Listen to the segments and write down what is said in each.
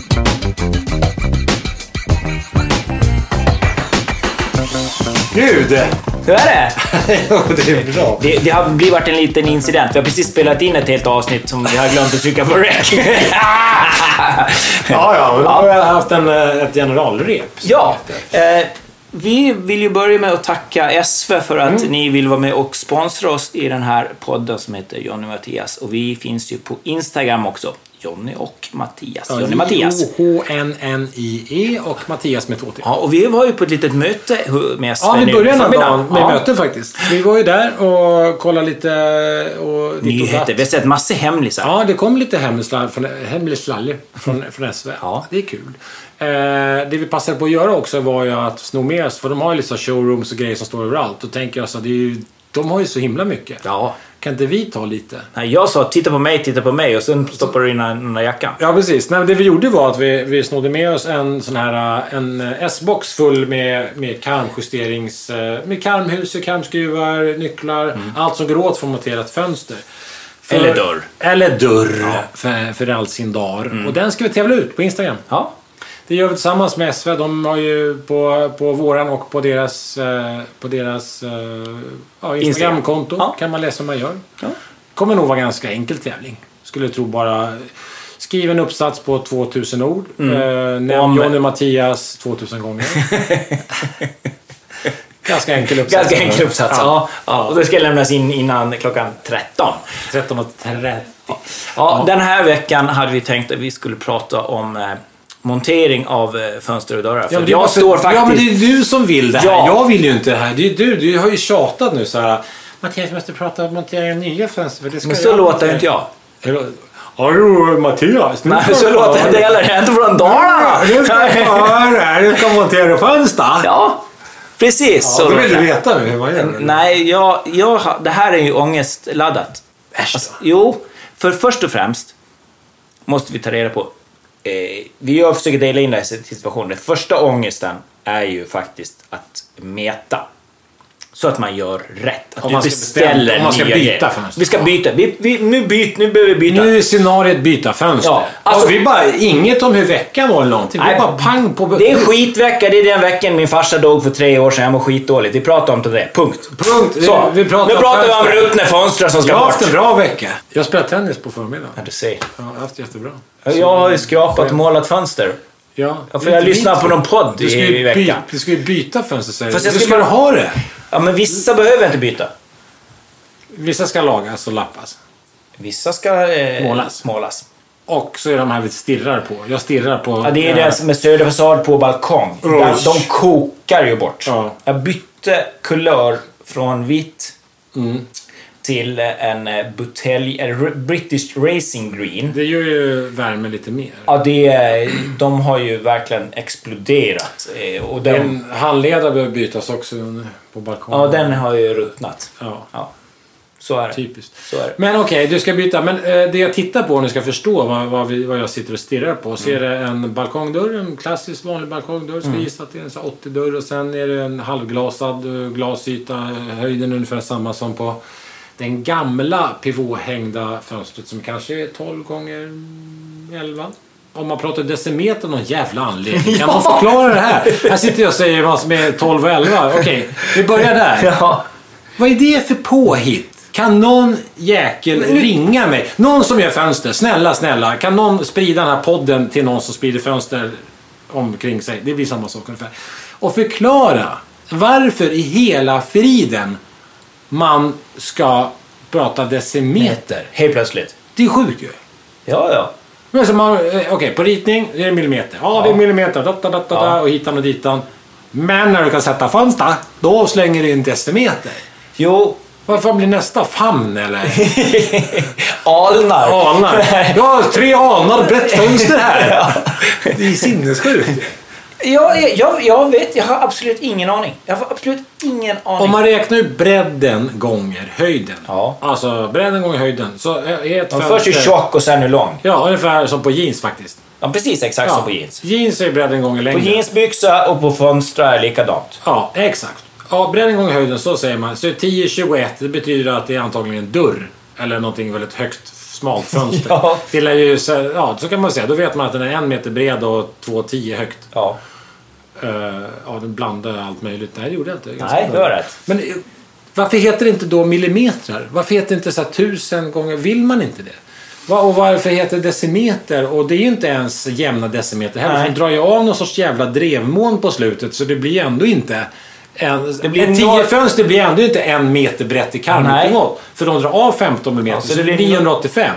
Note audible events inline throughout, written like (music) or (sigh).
(laughs) Gud! Hur är det? Jo, det är bra. det? Det har blivit varit en liten incident. Vi har precis spelat in ett helt avsnitt som vi har glömt att trycka på rec. (laughs) Ja, ja, men då har jag haft en, eh, ett generalrep. ja, eh, vi vill ju börja med att tacka SV för att Mm. ni vill vara med och sponsra oss i den här podden som heter Jonny och Mattias. Och vi finns ju på Instagram också. Jonny och Mattias. Jonny Mattias. H-N-N-I-E E och Mattias med 2 T. Ja, och vi var ju på ett litet möte hu- med SV Ja, vi nu började den här förmiddag. dagen med möten faktiskt. Vi var ju där och kollade lite eh, och ditt och datt. Nyheter. Vi har sett massor hemlisar. Ja, det kom lite hemligslalj från, hemligslalj från, från SV. Mm. Ja. Det är kul. Eh, det vi passade på att göra också var ju att sno med oss, för de har ju liksom showrooms och grejer som står överallt. Och tänker jag så, det är ju, de har ju så himla mycket. Ja. Kan inte vi ta lite? Nej, jag sa titta på mig, titta på mig och sen stoppar du in den där jackan. Ja, precis. Nej, men det vi gjorde var att vi, vi snodde med oss en sån här eh, en eh, S-box full med, med karmjusterings... eh, Med karmhus, karmskruvar, nycklar. Allt som går åt för att montera ett fönster. För- Mm. Eller dörr. Mm. Eller dörr, för, för all sin dar. Och den ska vi tävla ut på Instagram. Ja. Det gör vi tillsammans med SV. De har ju på, på våran och på deras, eh, på deras eh, ja, Instagramkonto Ja. kan man läsa hur man gör. Ja. kommer nog vara ganska enkel tävling. Skulle jag tro bara... Skriv en uppsats på 2000 ord. Eh, nämn Om- Johnny Mattias 2000 gånger. ganska enkel uppsats. Ganska enkel uppsats. Ja. Ja. Ja. Och det ska lämnas in innan klockan 13. 13 och 30. Ja, den här veckan hade vi tänkt att vi skulle prata om eh, montering av eh, fönster och dörrar. För men det är bara jag för- står faktiskt... Ja, men det är du som vill det här. Ja. Jag vill ju inte det här. Det är du. Du har ju tjatat nu så här. Mattias, vi måste prata om montering av nya fönster. För det ska Men så låter ju inte jag. jag. Hallå, Mattias. nu ska Nej, så jag- låter jag inte heller. Jag är inte från Dalarna. Ja, Nu ska jag höra. Du ska montera fönster. Ja, precis. Ja, så då vill låter du jag. veta hur man gör. Nej, jag, jag, har- det här är ju ångestladdat. Äsch då. Alltså, jo, för först och främst måste vi ta reda på... Eh, vi gör- försöker dela in det här i situationer. Den första ångesten är ju faktiskt att meta. Så att man gör rätt. Att Om du man ska beställer beställa- om man ska nya byta grejer. fönster. Vi ska byta. Vi, vi, nu, byt, nu behöver vi byta. Nu är scenariet byta fönster. Ja, Ja, alltså- vi bara, inget om hur veckan var eller någonting. Nej, Vi bara pang på... Det är en skitvecka. Det är den veckan min farsa dog för tre år sedan. Jag mår skitdåligt. Vi pratar om det. Punkt. Punkt. Så, Vi pratar nu om pratar vi om fönster. ruttna fönster som ska Jag har bort. haft en bra vecka. Jag spelade tennis på förmiddagen. Ja, du ser. Ja, jag har haft jättebra. Jag har ju skrapat och målat fönster. Ja, Ja, det för är jag inte lyssnar mitt på fel. någon podd du ska i, ju i veckan. By, du ska ju byta fönster säger Fast du. jag Hur ska ska du bara- ha det? Ja, men vissa behöver inte byta. Vissa ska lagas och lappas. Vissa ska eh, Målas. målas. Och så är de här vi stirrar på. Jag stirrar på... Ja, det är det som är söderfasad på balkong. Usch. De kokar ju bort. Ja. Jag bytte kulör från vitt Mm. till eh, en eh, butelj, en r- British Racing Green. Det gör ju värmen lite mer. Ja, det, är- de har ju verkligen exploderat. eh, Och den, En handledare behöver bytas också under- på balkongen. ja, den har ju ruttnat. Ja, Ja. Så är det. typiskt. Så är det. Men okej, du ska byta. Men eh, det jag tittar på, om ni ska förstå vad, vad, vi, vad jag sitter och stirrar på. Så är det en balkongdörr, en klassisk vanlig balkongdörr. Ska jag gissa att det är en 80-dörr. Och sen är det en halvglasad eh, glasyta. eh, Höjden är ungefär samma som på den gamla pivothängda fönstret som kanske är 12 gånger mm, 11. Om man pratar decimeter av någon jävla anledning. Kan man förklara det här? Här sitter jag och säger vad som är 12 och 11. Okej, vi börjar där. Ja. Vad är det för påhitt? Kan någon jäkel ringa mig? Någon som gör fönster, snälla, snälla. Kan någon sprida den här podden till någon som sprider fönster omkring sig? Det blir samma sak ungefär. Och förklara varför i hela friden man ska prata decimeter. Helt plötsligt. Det är sjukt ju. Ja, ja. Men så man, eh, Okej, på ritning det är det millimeter. Ja, det är Ja. millimeter. Da, da, da, da, Ja. da, och hitan och ditan. Men när du kan sätta fönster, då slänger du in decimeter. Jo. Vad fan blir nästa? Famn eller? (laughs) Alnar. Alnar. Jag har tre alnar brett fönster (laughs) här. Det är sinnessjukt. Jag, är- jag, jag vet, jag har absolut ingen aning. Jag har absolut ingen aning. Om man räknar ut bredden gånger höjden. Ja. Alltså bredden gånger höjden. Så är ett Man först hur tjock och sen hur lång. Ja, ungefär som på jeans faktiskt. Ja, precis exakt Ja. som på jeans. Jeans är bredden gånger På längden. jeansbyxa och på fönstrar är likadant. Ja, exakt. Ja, bredden gånger höjden, så säger man. Så 10, 21, det betyder att det är antagligen en dörr. Eller någonting väldigt högt smalt fönster. (laughs) Ja. Det är ju så, här- ja, så kan man säga. Då vet man att den är en meter bred och 2,10 högt. Ja. Uh, ja, den blandade allt möjligt. Nej, det gjorde jag inte. Ganska Nej, bra. du har rätt. Men eh, varför heter det inte då millimeter? Varför heter det inte så här tusen gånger? Vill man inte det? Va, och varför heter det decimeter? Och det är ju inte ens jämna decimeter heller. Nej. för De drar ju av någon sorts jävla drevmån på slutet så det blir ändå inte... En, det blir blir ett noll- tiofönster blir ändå inte en meter brett i Nej. karmen åt. För de drar av 15 mm, så så, det det blir blir 985.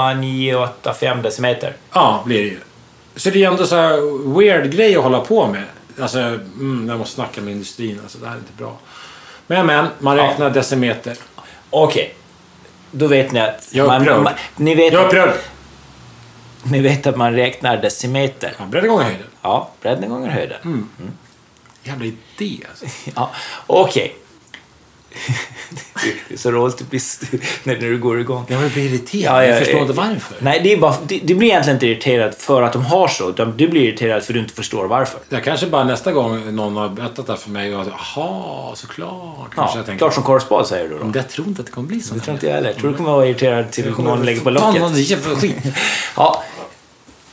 0,985 decimeter. Ja, blir det ju. Så det är ändå så här weird grej att hålla på med. Alltså, mm, jag måste snacka med industrin. Alltså, det här är inte bra. Men, men, man Ja. räknar decimeter. Okej. Då vet ni att... Jag är upprörd. ni, vet, Jag är upprörd! ni vet att man räknar decimeter. Ja, bredden gånger höjden. Ja, bredden gånger höjden. Mm. Jävla idé alltså. Ja, Okej. (laughs) det är så roligt att bli st- när du går igång. Jag blir irriterad. Ja, ja, jag förstår ja. inte varför. Nej, det, är bara, det, det blir egentligen inte irriterad för att de har så, utan du blir irriterad för att du inte förstår varför. Jag kanske bara nästa gång någon har berättat det här för mig och jag jaha, såklart. Kanske Ja, jag tänker. Mm. klart som korrespad säger du då. Men Jag tror inte att det kommer bli så. Det tror inte jag heller. Tror du kommer vara irriterad till någon lägger på Fan, locket? vad det är jävla (laughs) skit. Ja.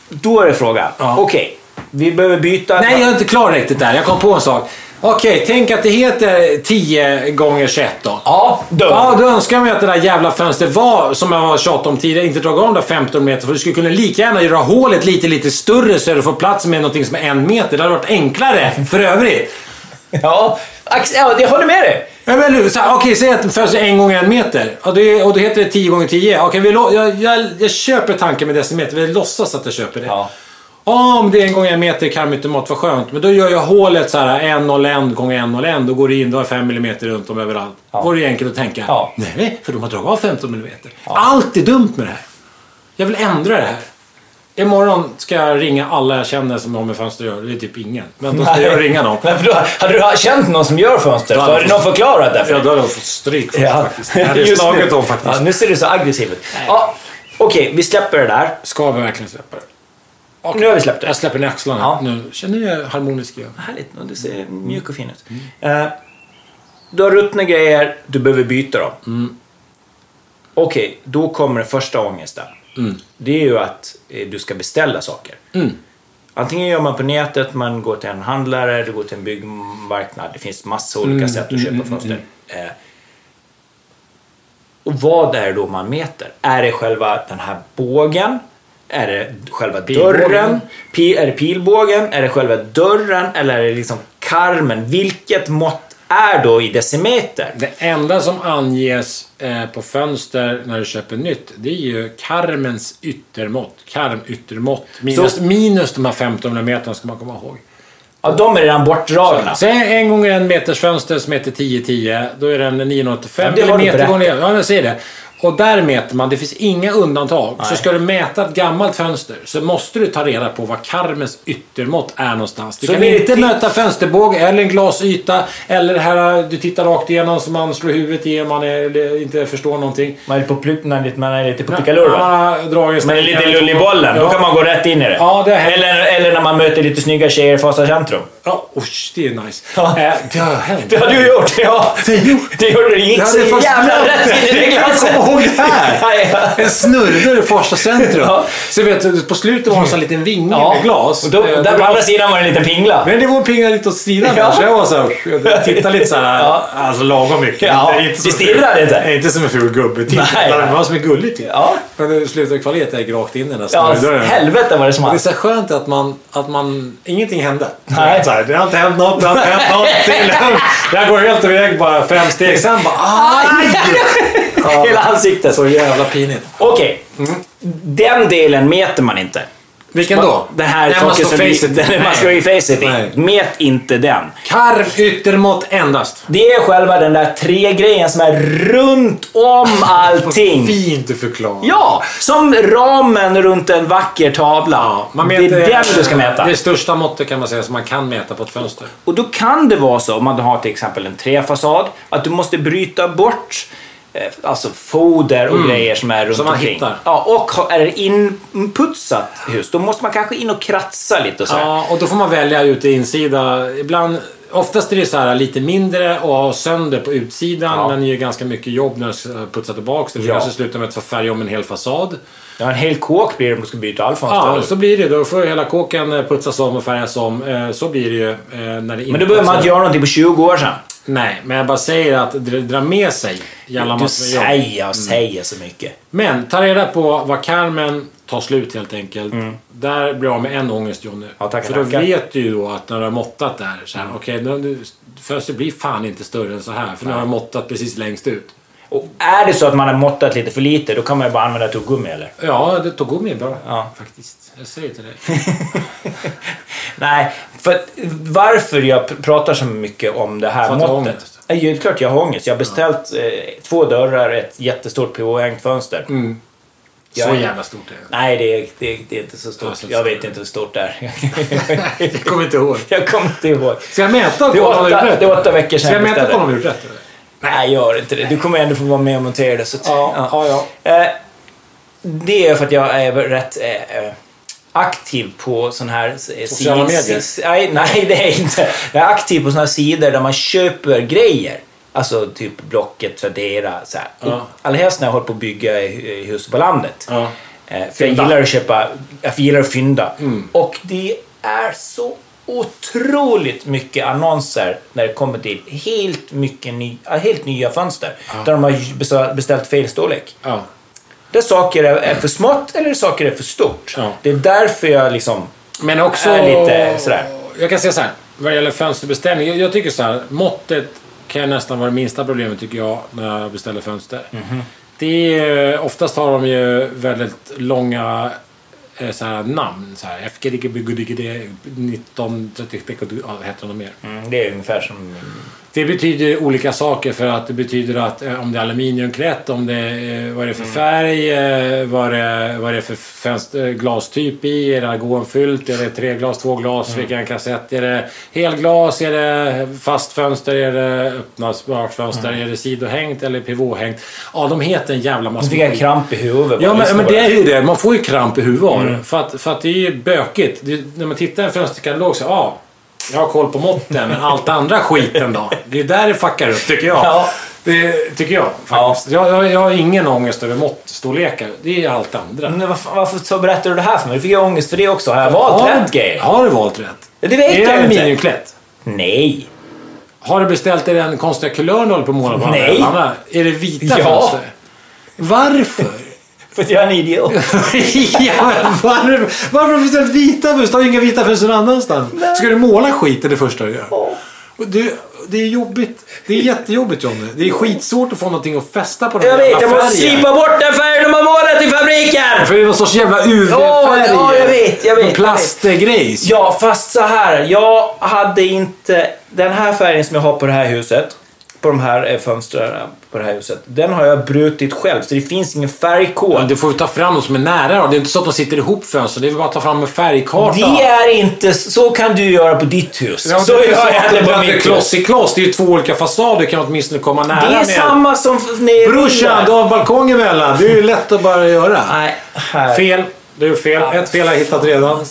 Då är det frågan. Ja. Okej, vi behöver byta. Nej, jag är inte klar riktigt där. Jag kom på en sak. Okej, tänk att det heter 10 gånger 21 då. Ja, dum. Ja, då önskar jag mig att det där jävla fönstret var, som jag var tjat om tidigare, inte dra igång där 15 meter. För du skulle kunna lika gärna göra hålet lite, lite större så du får plats med någonting som är en meter. Det hade varit enklare för övrigt. Ja, Ax- ja, jag håller med dig. Ja, men nu, så här, Okej, säg att fönstret är en gånger en meter. Och, det, och då heter det 10 gånger 10. Okej, vi lå- jag, jag, jag köper tanken med decimeter. Vi låtsas att jag köper det. Ja. Ja, Om det är en gånger en meter karmautomat, vad skönt. Men då gör jag hålet så här 1,01 gånger 1,01. Då går det in, då har 5 mm runt om överallt. Ja. Vore ju enkelt att tänka. Ja. Nej, för de har dragit av 15 mm. Allt är dumt med det här. Jag vill ändra det här. Imorgon ska jag ringa alla jag känner som har med fönster att göra. Det är typ ingen. Men då ska jag ringa dem. Men för då, hade du känt någon som gör fönster så hade hade jag någon fått- förklarat det för Ja, dig. då hade de fått stryk för Ja, faktiskt. Det hade jag just slagit nu. dem faktiskt. Ja, nu ser du så aggressiv ut. Ja, Okej, vi släpper det där. Ska vi verkligen släppa det? Okej. Nu har vi släppt det. Jag släpper ner axlarna. Ja. Nu känner jag harmonisk igen. Härligt, och du ser mjuk och fin ut. Eh, du har ruttna grejer, du behöver byta dem. Okej, då kommer den första ångesten. Det är ju att eh, du ska beställa saker. Antingen gör man på nätet, man går till en handlare, du går till en byggmarknad. Det finns massa olika sätt att köpa fönster. Eh, och vad är det då man mäter? Är det själva den här bågen? Är det själva Pilbågen. dörren? Pi, är det pilbågen? Är det själva dörren? Eller är det liksom karmen? Vilket mått är då i decimeter? Det enda som anges eh, på fönster när du köper nytt, det är ju karmens yttermått. Karmyttermått. Minus, Så- minus de här 15 meterna ska man komma ihåg. Ja, de är redan bortdragna. Säg en gånger en meters fönster som heter 10-10. Då är den 985 Ja, det har du millimeter berättat. gånger... Ja, jag säger det. Och där mäter man, det finns inga undantag. Så ska du mäta ett gammalt fönster så måste du ta reda på vad karmens yttermått är någonstans. Du Så kan blir det inte till- möta fönsterbåge eller en glasyta eller det här du tittar rakt igenom som man slår huvudet i om man är, inte förstår någonting. Man är lite på, plu- man är lite- man är lite på Man pickalurven. har dragit Man är lite lull i bollen. Då Ja. kan man gå rätt in i det. Ja, det har hänt. eller, eller när man möter lite snygga tjejer i Fasa centrum. Ja, usch, det är nice. Ja. Eh, det har hänt. Det har du gjort, ja! Det har jag gjort. Det gjorde du. gick Jag så hade faktiskt jävla glömt rätt (laughs) in i det Hur kan jag glaset! komma ihåg det här? (laughs) Ja, ja. En snurrdörr i Farsta centrum. Ja. Så vet du, på slutet var det en sån liten vinge med glas. Och då, Eh, där på andra sidan var det en liten pingla. men det var pinga lite åt sidan Ja. där, så jag var såhär... Tittade lite såhär... Ja. Alltså lagom mycket. Ja, det som- stirrar inte. Nej, inte som en ful gubbe. Nej. Tittade, det var som en gullig titt. Ja. Men det slutade kvalitet jag gick rakt in i den där Ja, snurrdörren. helvete var det som det är hade. så skönt att man, att man... Ingenting hände. Nej. Så här, det har inte hänt något, det har inte hänt något. (laughs) till. Jag går helt iväg bara fem steg. Sen bara... "Ah, Aj! Hela ansiktet. Så jävla pinigt. Okej. Mm. Den delen mäter man inte. Vilken då? Den här Nej, man saken slår som face vi... (laughs) it. (laughs) Den man Nej. slår i facet i. Nej. Mät inte den. Karv yttermått endast. Det är själva den där tre grejen som är runt (laughs) om allting. Fint du förklarar. Ja, som ramen runt en vacker tavla. Man det mäter, är den du ska mäta. Det största måttet kan man säga som man kan mäta på ett fönster. Och då kan det vara så, om man har till exempel en träfasad, att du måste bryta bort eh, alltså foder och grejer som är runt Mm. Som man omkring. hittar. Ja, och ha- är det inputsat hus, då måste man kanske in och kratsa lite och så här. Ja, och då får man välja ut i insida. Ibland Oftast är det så här lite mindre och ha sönder på utsidan Ja. men ger ganska mycket jobb när du ska putsa tillbaka det. Du Ja. kanske slutar med att få färga om en hel fasad. Ja, en hel kåk blir det om du ska byta all Ja, fönster. så blir det. Då får hela kåken eh, putsas om och färgas om. Eh, Så blir det ju eh, när det inte men då behöver man inte göra någonting på 20 år sedan. Nej, men jag bara säger att det drar med sig jävla Du massor med jobb. Mm. säger och säger så mycket. Men ta reda på vad Carmen tar slut helt enkelt. Där blir jag av med en ångest Johnny. Mm. Ja, Mm. tackar, För då tackar. vet du ju då att när du har måttat där. Så här, Okej, nu- nu- fönstret blir fan inte större än så här. För nu har jag måttat precis längst ut. Och är det så att man har måttat lite för lite, då kan man ju bara använda tuggummi eller? Ja, det tog gummi bara. Ja. Faktiskt. Jag säger (laughs) till dig. Nej, för att, varför jag pr- pratar så mycket om det här För att du har ångest. måttet. Det är klart jag har ångest. Jag har beställt eh, två dörrar, ett jättestort påhängt fönster. Mm. Så Jag- jävla stort är det. Nej, det är, det, är, det är inte så stort. Alltså, jag så- vet inte hur stort det är. (laughs) Jag kommer inte ihåg. jag kommer inte ihåg. Ska jag mäta och Det är kolla om jag har åtta, gjort det är rätt? åtta veckor Ska sedan jag mäta och beställde. kolla om jag har gjort rätt? eller? Nej, gör inte det. Du kommer ändå få vara med och montera det. Så att, Ja, ja, Eh, Det är för att jag är väl rätt eh, eh, aktiv på sån här... eh, Sociala sid- medier? sid- Nej, nej, det är jag inte. Jag är aktiv på såna här sidor där man köper grejer. Alltså typ Blocket, Tradera, så här. Ja. Allhelst när jag håller på att bygga i- i hus på landet. Ja. Eh, För jag Fynda. gillar att köpa, jag gillar att fynda. Och det är så otroligt mycket annonser när det kommer till helt, mycket ny, ja, helt nya fönster. Där de har ju besa- beställt fel storlek. Ja. Där saker är, är för smått eller där saker är för stort. Ja. Det är därför jag liksom... Men också... Är lite sådär. Jag kan säga så här. Vad gäller fönsterbeställning. Jag, jag tycker så här. Måttet kan nästan vara det minsta problemet tycker jag när jag beställer fönster. Mhm. Det är, oftast har de ju väldigt långa eh, så här, namn. Så här, FG, 1930... Vad heter de mer? Mm, det är ungefär som... Det betyder olika saker för att det betyder att eh, om det är aluminiumkrätt, om det är, eh, vad är det för färg, eh, vad är det, vad är det för fönster, eh, glastyp i, är det argonfyllt, är det treglas, tvåglas, vilken kassett, är det helglas, är det fast fönster, är det öppna sparkfönster, är det sidohängt eller pivothängt. Ja, de heter en jävla massa Nu fick jag skit. kramp i huvudet. Ja, bara men, lyssna men på det är ju det. Man får ju kramp i huvudet av Mm. det. för att, för att det är ju bökigt. Det, när man tittar i en fönsterkatalog så, ja, ah, jag har koll på måtten, men allt andra skiten då? Det är där det fuckar upp, tycker jag. Ja. Det tycker jag faktiskt. Jag, jag, jag har ingen ångest över måttstorlekar. Det är allt andra. Men varför, varför så berättar du det här för mig? Nu fick jag ångest för det också. Har jag valt Har- rätt grejer? Har du valt rätt? Det vet Är jag det inte. aluminiumklätt? Nej. Har du beställt dig den konstiga kulören du håller på att måla på? Nej. alla andra? Är det vita Ja. fönster? Varför? För att jag är en idiot. (laughs) (laughs) ja, men varför, varför har du beställt vita fönster? Har du inga vita fönster någon annanstans? Ska du måla skiten det första du gör? Och du, det är jobbigt. Det är jättejobbigt Johnny. Det är skitsvårt att få någonting att fästa på den Jag vet, jag måste färgen. slipa bort den färgen de har målat i fabriken! För det är någon sorts jävla UV-färg. Ja, ja, jag vet, jag vet, Någon Plastgrejs. Ja, fast så här. Jag hade inte... Den här färgen som jag har på det här huset, på de här eh, fönstren på det här huset, den har jag brutit själv så det finns ingen Ja, färgkod. Du får ju ta fram något som är nära då. Det är inte så att de sitter ihop fönster. Det är väl bara att ta fram en färgkarta. Det är inte... Så kan du göra på ditt hus. Ja, så det är gör så jag att inte det på är mitt hus. kloss i kloss. Det är ju två olika fasader. kan man åtminstone komma nära Det är med. samma som... f- nere i Brorsan, Lilla. du har balkong emellan. Det är ju lätt att bara göra. Nej, här. Fel. Du är fel. Ett fel har jag hittat redan.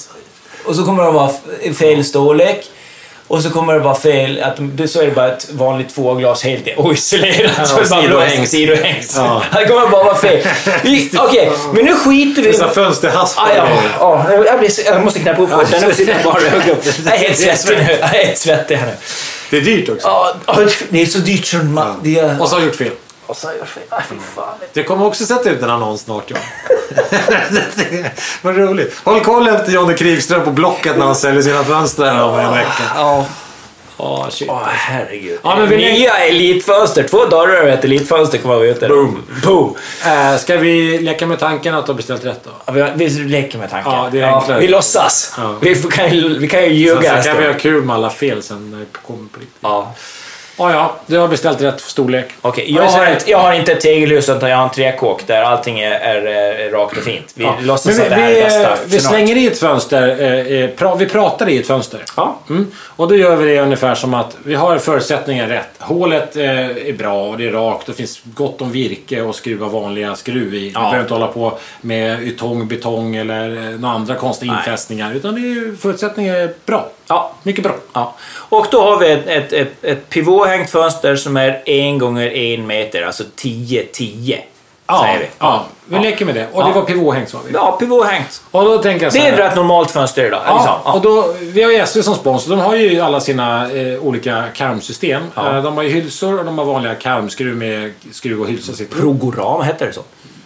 Och så kommer det vara f- fel storlek. Och så kommer det vara fel, att det, så är det bara ett vanligt tvåglas helt oisolerat. Ja, så är det bara sidohängs. blåst, Sidohängs. Ja. (laughs) Det kommer bara vara fel. (laughs) Vi- Okej, men nu skiter vi Vissa fönsterhaspar. Ah, ja, ja, jag, blir, så- jag måste knäppa upp skjortan. Jag sitter bara och röker upp. Jag är helt svettig nu. Jag är helt svettig här nu. Det är dyrt också. Ja, ja, det är så dyrt som man... Det är... Och så har jag gjort fel. Och så gör jag fel. Ah, fy fan. Det kommer också sätta ut en annons snart, (laughs) ja. Vad roligt. Håll koll efter Johnny Krigström på Blocket när han säljer sina fönster här om en vecka. Ja. Oh, shit. Åh, herregud. Ja, men vi- Nya elitfönster. Två dörrar och ett elitfönster kommer vi ut där. Boom. Boom. Eh, ska vi leka med tanken att du har beställt rätt då? Ja, Vi, vi leker med tanken. Ja, det är enklare. vi låtsas. Ja. Vi, får, kan, ju- vi kan ju Sen ljuga. så kan här vi stund. ha kul med alla fel sen när det kommer på riktigt. ja. Ja, ja. Du har beställt rätt storlek. Okej, Ja, jag, det har säger- ett- jag har inte ett tegelhus utan jag har en träkåk där allting är, är, är eh, rakt och fint. Vi Ja. låtsas Men att det här är bästa Vi final. slänger i ett fönster. eh, eh, pra, vi pratar i ett fönster. Ja. Mm. Och då gör vi det ungefär som att vi har förutsättningar rätt. Hålet eh, är bra och det är rakt och det finns gott om virke och skruva vanliga skruv i. Vi behöver inte hålla på med ytong, betong eller eh, några andra konstiga infästningar. Utan det är, ju- förutsättningar är bra. Ja. Mycket bra. Ja. Och då har vi ett, ett, ett, ett pivothängt fönster som är en gånger en meter, alltså 10-10. Säger vi. ja. vi leker med det. Och det var pivothängt sa vi. Ja, pivothängt. Och då tänker jag så Det är här, ett rätt normalt fönster idag. Ja, liksom. ja. och då, vi har ju SV som sponsor. De har ju alla sina eh, olika karmsystem. Eh, de har ju hylsor och de har vanliga karmskruv med skruv och hylsa sitter upp. Progoram heter det så.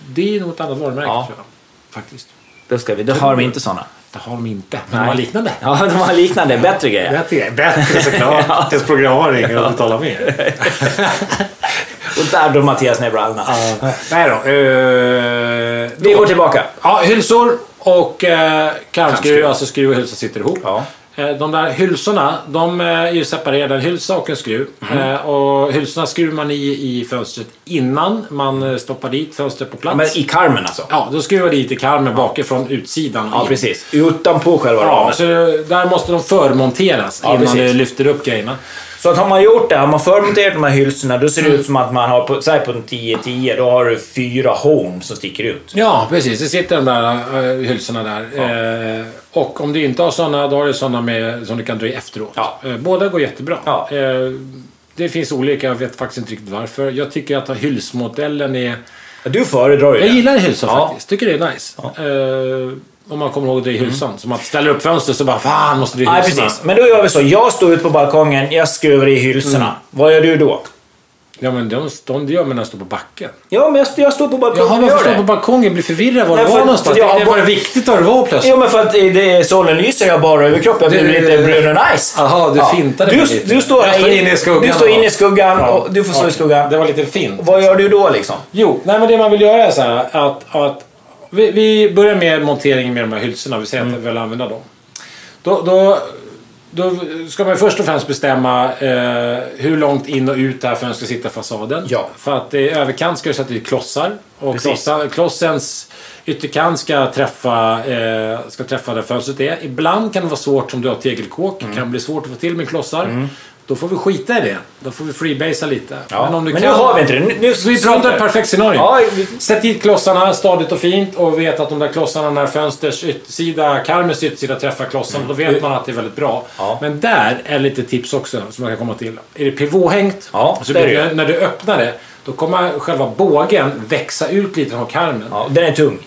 Det är nog ett annat varumärke Ja. tror jag. Faktiskt. Då, ska vi, då har vi inte såna. Det har de inte, men de har liknande. Ja, de har liknande, bättre grejer. Bättre, bättre såklart. (laughs) Ja. Ett program ringer och betalar mer. Och där drog Mattias ner brallorna. Nej då. Eh, Vi då- går tillbaka. Ja, hylsor och eh, karmskruv, alltså skruv och hylsa sitter ihop. Ja. Eh, De där hylsorna, de eh, är ju separerade, en hylsa och en skruv. Mhm. Eh, Och hylsorna skruvar man i i fönstret innan man eh, stoppar dit fönstret på plats. Men i karmen alltså. Ja, då skruvar de dit i karmen bakifrån utsidan. Ja, in. precis. Utanpå själva Ja, ramen. så där måste de förmonteras innan precis. du lyfter upp grejerna. Så att har man gjort det, har man förmonterat de här hylsorna, då ser det ut som att man har, på, säg på en 10-10, då har du fyra horn som sticker ut. Ja, precis. Det sitter de där eh, hylsorna där. Eh, och om du inte har sådana, då har du sådana med, som du kan dra i efteråt. Ja. Eh, båda går jättebra. Ja. Eh, det finns olika, jag vet faktiskt inte riktigt varför. Jag tycker att hylsmodellen är... Du föredrar ju Jag det. gillar hylsor Ja. Mm. faktiskt. Tycker det är nice. Eh, om man kommer ihåg att det i hylsan. Som att ställer upp fönster så bara fan måste det i Nej, hylsorna. precis. Men då gör vi så. Jag står ute på balkongen, jag skruvar i hylsorna. Mm. Vad gör du då? Ja men de, de, de gör man när de står på backen. Ja, men jag, st- jag står på balkongen Jaha, och varför gör står det. på balkongen? Blir förvirrad var Nej, du för- var för någonstans. jag har det bara- var viktigt var du var plötsligt. Jo, men för att i det, solen lyser jag bara över kroppen. Jag blir Du- lite brun och nice. Jaha, du fintade mig du, lite. du står Jag här står inne i skuggan Du står då. inne i skuggan Ja. och du får stå i Okej. skuggan. Det var lite fint. Vad gör du då liksom? Jo, nej men det man vill göra är så här att, att vi, vi börjar med monteringen med de här hylsorna. Vi säger Mm. att vi vill använda dem. Då, då, då ska man först och främst bestämma eh, hur långt in och ut det här fönstret ska sitta i fasaden. Ja. För att i överkant ska du sätta dit klossar. Och klossar, klossens ytterkant ska träffa, eh, ska träffa där fönstret är. Ibland kan det vara svårt som du har tegelkåk. Mm. Det kan bli svårt att få till med klossar. Då får vi skita i det. Då får vi freebasea lite. Ja. Men nu har vi inte det. Nu- nu- Så vi pratar ett perfekt scenario. Ja, vi- Sätt dit klossarna stadigt och fint och vet att de där klossarna när fönsters yttersida, karmens yttersida träffar klossarna, då vet man att det är väldigt bra. Mm. Ja. Men där är lite tips också som jag kan komma till. Är det pivothängt, Ja, så det är blir det det, när du öppnar det, då kommer själva bågen växa ut lite från karmen. Ja, den är tung.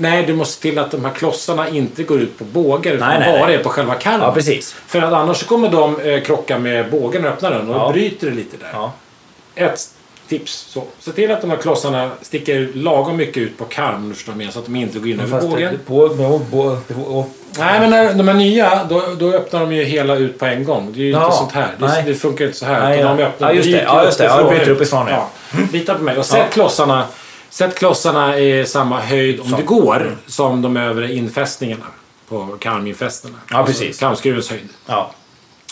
Nej, du måste se till att de här klossarna inte går ut på bågar utan Nej, nej, bara nej. är på själva karmen. Ja, precis. För att annars så kommer de eh, krocka med bågen och öppna den och Ja. då bryter det lite där Ja. ett tips. Så. Se till att de här klossarna sticker ut lagom mycket ut på karmen om du förstår vad jag menar, så att de inte går in över Fast det- bågen. på, på, på, på, Nej, men när de är nya, då, då öppnar de ju hela ut på en gång. Det är ju Ja, inte sånt här. Det, nej. det funkar inte så här. Nej, utan ja. de öppnar Ja, just det. bryter Ja, just det. Ja, uppifrån bryter ut. uppifrån, ja. Lita på mig. Och sätt klossarna, sätt klossarna i samma höjd, om det går, som de övre infästningarna. På karminfästningarna. Ja, precis. Karmskruvens höjd. ja.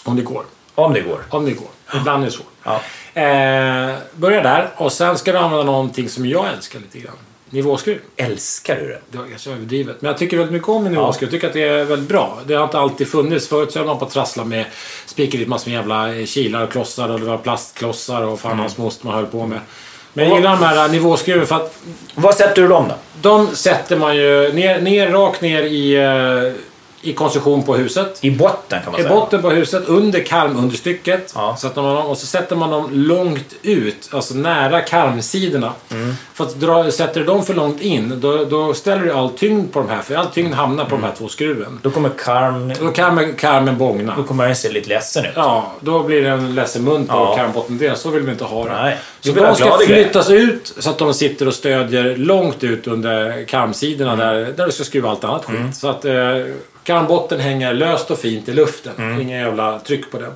Om det går. Om det går. Om det går. Ibland är det svårt. Ja. Eh, börja där och sen ska du använda någonting som jag älskar lite grann. Nivåskruv. Älskar du det? Det var ganska överdrivet. Men jag tycker väldigt mycket om en nivåskruv. Jag tycker att det är väldigt bra. Det har inte alltid funnits. Förut så höll man på att trassla med spikar dit massor med jävla eh, kilar och klossar och det var plastklossar och fan hans most man höll på med. Men jag gillar de här eh, nivåskruven för att Vad sätter du dem då? de sätter man ju ner, ner rakt ner i, eh, i konstruktion på huset. I botten kan man I säga. botten på huset, under karmunderstycket. Ja. Så att man, och så sätter man dem långt ut, alltså nära karmsidorna. För att dra, sätter du dem för långt in, då, då ställer du all tyngd på de här. För all tyngd hamnar på de här två skruven. Då kommer karm... Då kan karmen bågna. Då kommer den se lite ledsen ut. Ja, då blir det en ledsen mun på Alltså. Ja. karmbottendelen. Så vill vi inte ha det. Nej, vi Så vill ha de ska glada grejer. flyttas ut så att de sitter och stödjer långt ut under karmsidorna Mm. där, där du ska skruva allt annat skit. Så att eh, Mm. karmbotten hänger löst och fint i luften. Inga jävla tryck på den.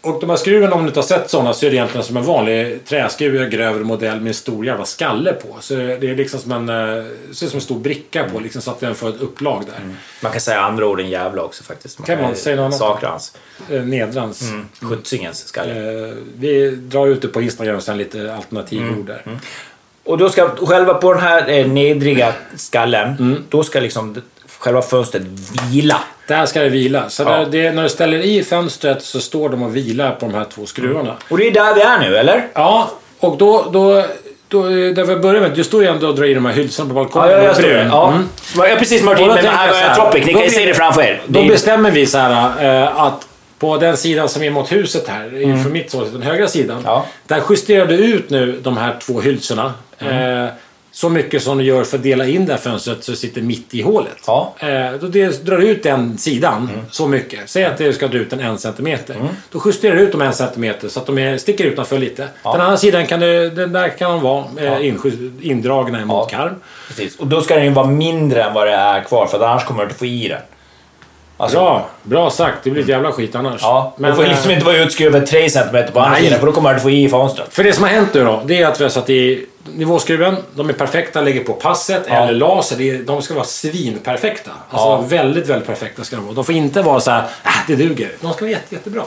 Och de här skruven, om du inte har sett sådana, så är det egentligen som en vanlig träskruv, grövre modell med en stor jävla skalle på. Så det är liksom som en, eh, ser ut som en stor bricka på, liksom, så att den får ett upplag där. Man kan säga andra ord än jävla också faktiskt. Kan man säga något annat? Sakrans. Eh, Nedrans. Mm. Skjutsingens skalle. Eh, Vi drar ut det på Instagram sen lite Mm, alternativord där. Och då ska själva på den här eh, nedriga skallen, då ska liksom d- själva fönstret vila. Där ska det vila. Så Ja. där, det, när du ställer i fönstret så står de och vilar på de här två skruvarna. Och det är där vi är nu, eller? Ja, och då... då då, eh, där vi börjar med, du står ju ändå och drar i de här hylsorna på balkongen. Ja, ja, jag och står brun. där. Ja. Mm. Så Jag har precis mört in Och då mig med tänker jag så High här, Tropic. Ni då kan ju blir- se det framför er. Då Det är- bestämmer vi så här eh, att på den sidan som är mot huset här, från mitt håll, den högra sidan. Mm. Ja. Där justerar du ut nu de här två hylsorna. Mm. Eh, så mycket som du gör för att dela in det här fönstret så det sitter mitt i hålet. Ja. Mm. Eh, då dels drar du ut den sidan så mycket. Säg att du ska dra ut den en centimeter. Då justerar du ut dem en centimeter så att de är, sticker utanför lite. Den andra sidan kan du, den där kan de vara eh, inskjut- indragna emot Ja. karm. Precis. Och då ska den ju vara mindre än vad det är kvar, för att annars kommer du inte få i den. Alltså, Mm. Bra, bra sagt. Det blir ett jävla skit annars. Ja, men du får eh, liksom inte vara utskruvad 3 cm på andra Nej. sidan, för då kommer du inte få i fönstret. För det som har hänt nu då, det är att vi har satt i nivåskruven. De är perfekta, lägger på passet eller laser. det är- De ska vara svinperfekta. Alltså Ja. väldigt, väldigt perfekta ska de vara. De får inte vara så här, äh, det duger. De ska vara jätte, jättebra.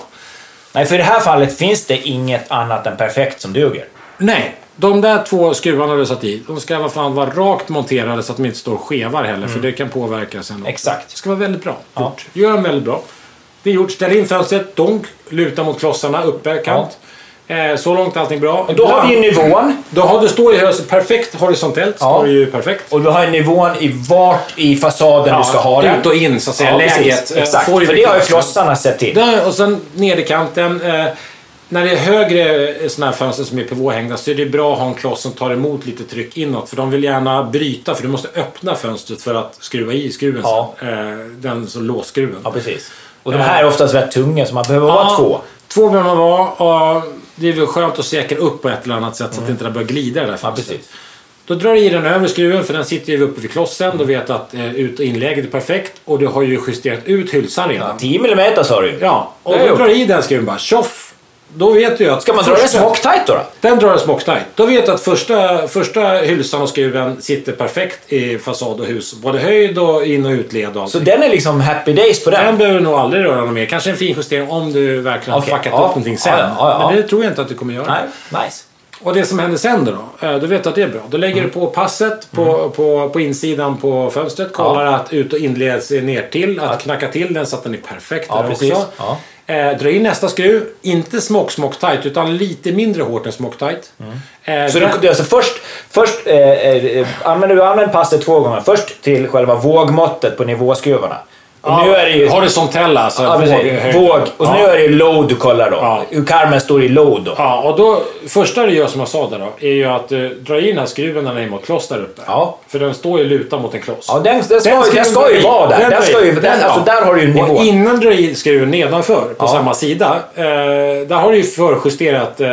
Nej, för i det här fallet finns det inget annat än perfekt som duger. Nej, de där två skruvarna du har satt i, de ska vad fan vara rakt monterade så att de inte står och skevar heller, för det kan påverka sen. också. Mm. Exakt. Det ska vara väldigt bra gjort. Gör dem väldigt bra. Det är gjort. Ställ in fönstret, donk, luta mot klossarna, uppe, kant. Eh, så långt är allting bra. Då har vi ju nivån. Då har du står ju hö- perfekt horisontellt. Står det ju perfekt. Och du har ju nivån i vart i fasaden du ska ha den. Ut och in så att säga. Ja, läget. precis. eh, Exakt. får För det har ju klart. flossarna sett till. Där, och sen nederkanten. Eh, när det är högre eh, såna här fönster som är pivothängda så är det bra att ha en kloss som tar emot lite tryck inåt. För de vill gärna bryta för du måste öppna fönstret för att skruva i skruven Ja. sen. Eh, den så låsskruven. Ja, precis. Eh. Och de här är oftast rätt tunga, så man behöver Ja, vara två. Två behöver man vara. Och det är väl skönt att säkra upp på ett eller annat sätt så att det inte där börjar glida i det där fönstret. Mm. precis. Då drar du i den övre skruven för den sitter ju uppe vid klossen. Då vet du att eh, ut och inlägget är perfekt och du har ju justerat ut hylsan redan. 10 mm sa du ju. Ja, och Det har då jag drar du i den skruven bara tjoff. Då vet du ju att... Ska man dra det första- smocktajt då? då? Den drar du smocktajt. Då vet du att första, första hylsan och skruven sitter perfekt i fasad och hus. Både höjd och in och utled och Så allting. den är liksom happy days på den? Den behöver du nog aldrig röra någon mer. Kanske en finjustering om du verkligen Okej, har fuckat ja. upp någonting sen. Ja, ja, ja, ja. Men det tror jag inte att du kommer göra. Nej, nice. Och det som händer sen då? eh, Då vet du att det är bra. Då Mm. lägger du på passet på, på, på insidan på fönstret. Kollar att ut och inleds är ner till. Att knacka till den så att den är perfekt Ja, där precis. också. Ja. Eh, dra in nästa skruv. Inte smock smock tight utan lite mindre hårt än smock tight. Eh, Mm. Så den- du, alltså först, först eh, eh, använder du använder passet två gånger. Först till själva vågmåttet på nivåskruvarna. Och ja, nu är det ju... Horisontella, alltså. ja, precis. höjd. våg. Och Ja. nu är det ju load du kollar då. Ja. Hur karmen står i load då. Ja, och då, första du gör som jag sa där då, är ju att eh, dra i den här skruven när den är mot kloss där uppe. Ja. För den står ju lutad mot en kloss. Ja, den, den, ska, Den den, ska, skruven drar ju i. vara där. Den, drar i. ska ju, den, ja. alltså, där har du ju en nivå. Och innan du drar i skruven nedanför, på samma sida, eh, där har du ju förjusterat eh,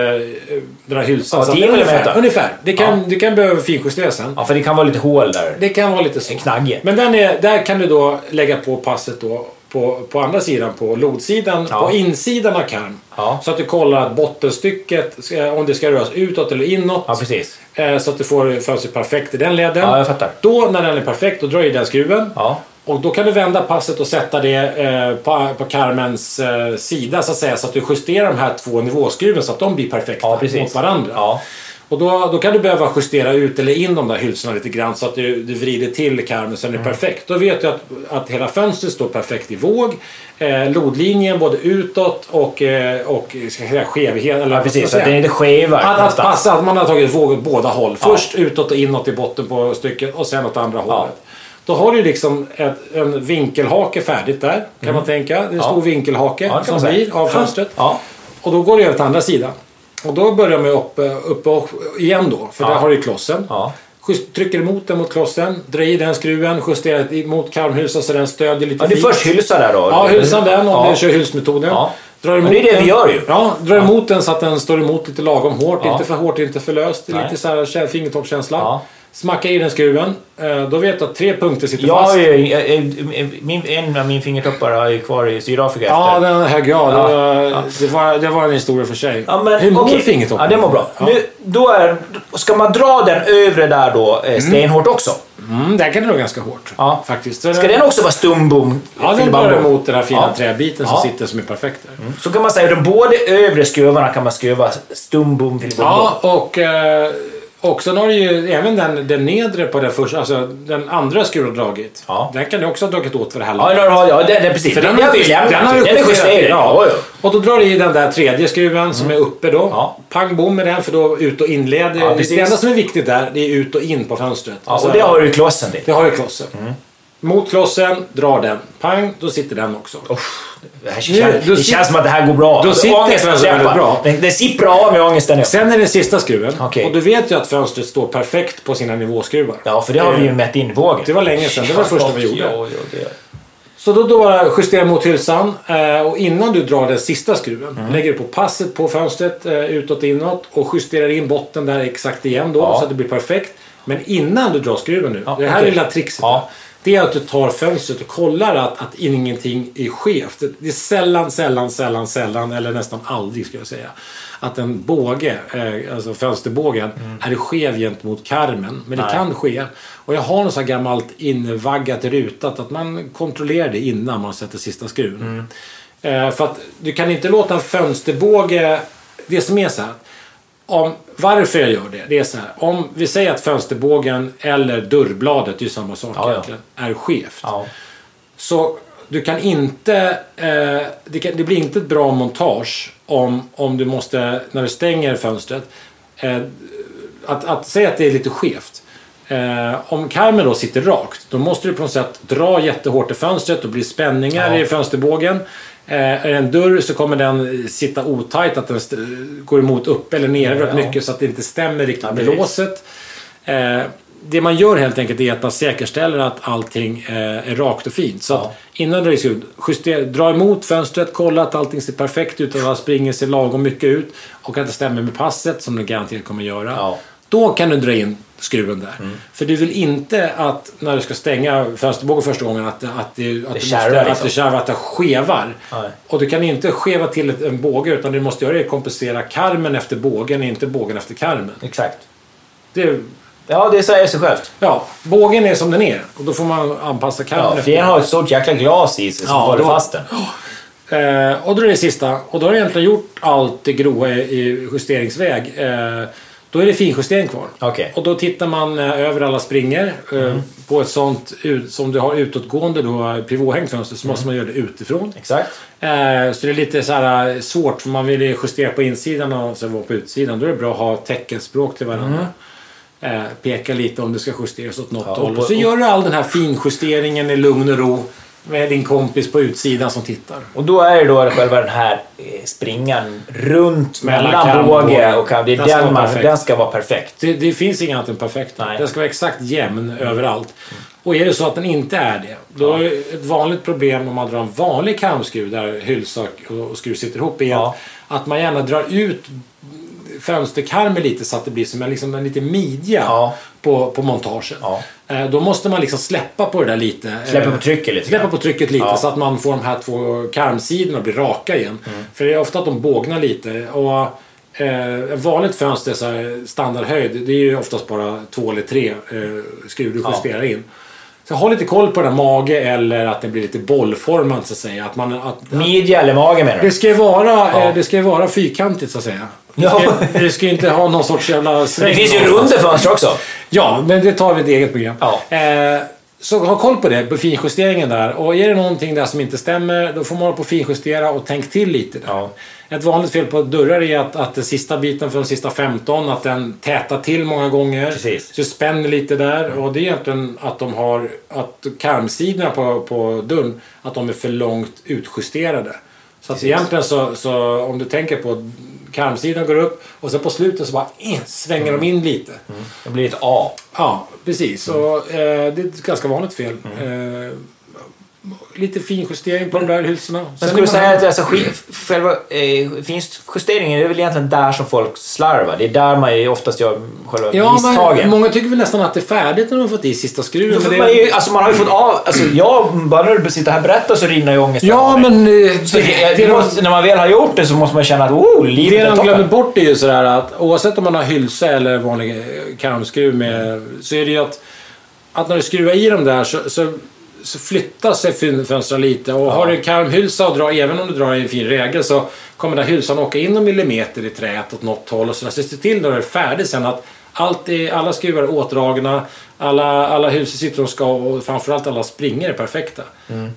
den här hylsan. Ja, Så att 10 millimeter. ungefär, ungefär. Det kan, det kan behöva finjusteras sen. Ja, för det kan vara lite hål där. Det kan vara lite så. knagge. Men den är, där kan du då lägga på passet då på, på andra sidan, på lodsidan, Ja. på insidan av karm. Ja. Så att du kollar att bottenstycket, ska- om det ska röras utåt eller inåt. Ja, precis. Eh, Så att du får fönstret perfekt i den leden. Ja, jag fattar. Då när den är perfekt, då drar du i den skruven. Ja. Och då kan du vända passet och sätta det eh, på, på karmens eh, sida så att säga. Så att du justerar de här två nivåskruven så att de blir perfekta Ja, precis. mot varandra. Ja. Och då, då kan du behöva justera ut eller in de där hylsorna lite grann så att du, du vrider till karmen så den är Mm. perfekt. Då vet du att, att hela fönstret står perfekt i våg. Eh, lodlinjen både utåt och, eh, och ska jag säga, skevhet. Eller Ja, vad ska jag precis. Så att säga? den inte skevar Att, att någonstans. passa, att man har tagit våg åt båda håll. Först utåt och inåt i botten på stycket och sen åt andra hållet. Då har du liksom ett, en vinkelhake färdigt där, kan Mm. man tänka. Det är en stor vinkelhake kan som man säga. blir av fönstret. Ja. Och då går det över till andra sidan. Och då börjar man ju uppe, uppe och, igen då, för där har du ju klossen. Ja. Just, trycker emot den mot klossen, drar i den skruven, justerar i- mot karmhusen så den stödjer lite Ja, du fint. först hylsa där då. Ja, hylsan den om Ja. du kör hylsmetoden. Ja. Drar Men det är emot det vi den. gör ju. Ja, drar emot den så att den står emot lite lagom hårt. Ja. Inte för hårt, inte för löst. Det är Nej. Lite så här kä- fingertoppskänsla. Ja. Smacka i den skruven. Eh, Då vet du att tre punkter sitter Jag har fast. ju, eh, jag- jag- min, en av mina fingertoppar har jag ju kvar i Sydafrika Ja, efter. den här grad. Det, var, det var en historia för sig. Ja, men, Hur mår okej. fingertoppen? Ja, det mår bra. Nu, då är, ska man dra den övre där då eh, stenhårt också? Mm, den kan dra ganska hårt. Ja. Faktiskt. Ska den också vara stumbom? Ja, den filbambo? drar emot den här fina Ja. träbiten Ja. Mm. som sitter som är perfekt där. Så kan man säga att de båda övre skruvarna kan man skruva stumbom till Ja, och eh, också har du ju även den, den nedre på den första, alltså den andra skruven har dragit. Ja. Den kan du också ha dragit åt för det här Ja, laget. den har, ja, den, den, precis. För den, den har har vi ju- lämnat. den har ju den är justerat, justerad. ja. Ja, ja. Och då drar du i den där tredje skruven som är uppe då. Mm. Ja. Pang bom med den för då ut och inled. Ja, precis. det enda som är viktigt där, det är ut och in på fönstret. Ja, Alltså, och det har Mm. du ju klossen till. det har ju klossen. Mot klossen, drar den. Pang, då sitter den också. Det, här känns, Nu, det du känns sitter- som att det här går bra. Då Alltså, sitter ångesten den så väldigt släpar. bra. Den, den sipprar av med ångesten nu. Sen är det sista skruven. Okej. Och du vet ju att fönstret står perfekt på sina nivåskruvar. Ja, för det har vi ju mätt in vågen. Eh, Det var länge sedan. Det var det första vi gjorde. Ja, ja, det. Så då, då bara justera mot hylsan eh, och innan du drar den sista skruven Mm. lägger du på passet på fönstret eh, utåt och inåt och justerar in botten där exakt igen då Ja. så att det blir perfekt. Men innan du drar skruven nu, Ja, det här okej. lilla trixet. Ja. va, Det är att du tar fönstret och kollar att, att ingenting är skevt. Det- Det är sällan, sällan, sällan, sällan eller nästan aldrig ska jag säga. Att en båge, eh, alltså fönsterbågen, är skev gentemot karmen. Men det Nej. kan ske. Och jag har något så här gammalt invaggat rutat att man kontrollerar det innan man sätter sista skruven. Eh, för att du kan inte låta en fönsterbåge... Det som är så här. Om, varför jag gör det, det är så här. Om vi säger att fönsterbågen eller dörrbladet, det är ju samma sak Ja, ja. egentligen, är skevt. Ja. Så du kan inte... Eh, det, kan, det blir inte ett bra montage om, om du måste, när du stänger fönstret, eh, att, att säga att det är lite skevt. Eh, om karmen då sitter rakt, då måste du på något sätt dra jättehårt i fönstret. Då blir det spänningar Ja. i fönsterbågen. Eh, är det en dörr så kommer den sitta otajt, att den st- går emot upp eller ner väldigt Ja. mycket så att det inte stämmer riktigt med precis. låset. Eh, det man gör helt enkelt är att man säkerställer att allting eh, är rakt och fint. Så att innan du rycks ut, justera, dra emot fönstret, kolla att allting ser perfekt ut, att det springer sig lagom mycket ut och att det stämmer med passet som du garanterat kommer göra. Ja. Mm. Då kan du dra in skruven där. För du vill inte att när du ska stänga fönsterbågen första gången att, att, det, att, det kärvar måste, att liksom. det kärvar, att det skevar. Nej. Och du kan inte skeva till ett- en båge utan du måste göra det kompensera karmen efter bågen, inte bågen efter karmen. Exakt. Det, Ja, det säger sig självt. ja, bågen är som den är och då får man anpassa karmen Ja, för efter den har ett stort jäkla glas i sig som Ja, håller då- fast den. Eh, och då är det sista. Och då har du egentligen gjort allt det grova i, i justeringsväg. Eh, då är det finjustering kvar. Okej. Mm. Och då tittar man eh, över alla springer eh, På ett sånt ut, som du har utåtgående då, eh, pivothängt fönster Mm. så måste man göra det utifrån. Exakt. Eh, så det är lite så här eh, svårt för man vill ju justera på insidan och sen vara på utsidan. Då är det bra att ha teckenspråk till varandra. Eh, peka lite om det ska justeras åt något Mm. Ja, och håll. på- Och så och- gör du all den här finjusteringen i lugn och ro med din kompis på utsidan som tittar. Och då är det då själva den här eh, springan runt Mellan mellan kam- båge och kam. Det är Den ska den, vara man, perfekt. den ska vara perfekt. Det, det finns inget annat än perfekt. Nej. Den ska vara exakt jämn överallt. Och är det så att den inte är det, då är ett vanligt problem om man drar en vanlig kamskruv där hylsa och- och skruv sitter ihop igen, Ja. att man gärna drar ut fönsterkarmen lite så att det blir som en, liksom en liten midja Ja. på, på montagen. Ja. Eh, Då måste man liksom släppa på det där lite. Släppa Eh, på trycket lite Släppa grann. på trycket lite Ja. så att man får de här två karmsidorna att bli raka igen. Mm. För det är ofta att de bågnar lite. Och eh, ett vanligt fönster, så här, standardhöjd, det är ju oftast bara två eller tre eh, skruv du justerar in. Så ha lite koll på den här mage eller att den blir lite bollformad så att säga. Att man, att, Midja eller mage menar det du? ska ju vara, eh, det ska ju vara fyrkantigt så att säga. Det ska, Ja. det ska ju inte ha någon sorts jävla sväng. Det finns ju någonstans. runda fönster också. Ja, men det tar vi i ett eget program. Ja. Eh, så ha koll på det, på finjusteringen där. Och är det någonting där som inte stämmer, då får man hålla på och finjustera och tänk till lite där. Ja. Ett vanligt fel på dörrar är att, att den sista biten för de sista 15, att den tätar till många gånger. Precis. Mm. Så det spänner lite där. Och det är egentligen att de har, att karmsidorna på, på dörren, att de är för långt utjusterade. Så att egentligen så, så, om du tänker på att karmsidan går upp och sen på slutet så bara eh, svänger de in lite. Det blir ett A. Ja, precis. Så, eh, det är ett ganska vanligt fel. Eh, lite finjustering på de där husen. Men skulle du säga att alltså, sk- själva eh, finjusteringen är väl egentligen där som folk slarvar? Det är där man ju oftast gör själva Ja, misstagen. men många tycker väl nästan att det är färdigt när de har fått i sista skruven. Jo, för för det- man, är ju, alltså, man har ju fått av... Alltså, jag, bara när du sitter här och berättar så rinner ju ångesten Ja, av mig. men... eh, Så det, det det de- måste, när man väl har gjort det så måste man känna att oh, livet Det är de toppen. glömmer bort är ju sådär att oavsett om man har hylsa eller vanlig eh, karmskruv med så är det ju att, att när du skruvar i dem där så, så, så flyttar sig fyn- fönstren lite och har du en karmhylsa och drar, även om du drar i en fin regel så kommer den här hylsan åka in någon millimeter i träet åt något håll och sådär. Så se till när du är färdig sen att allt är, alla skruvar är åtdragna, alla, alla hylsor sitter de ska och framförallt alla springor är perfekta.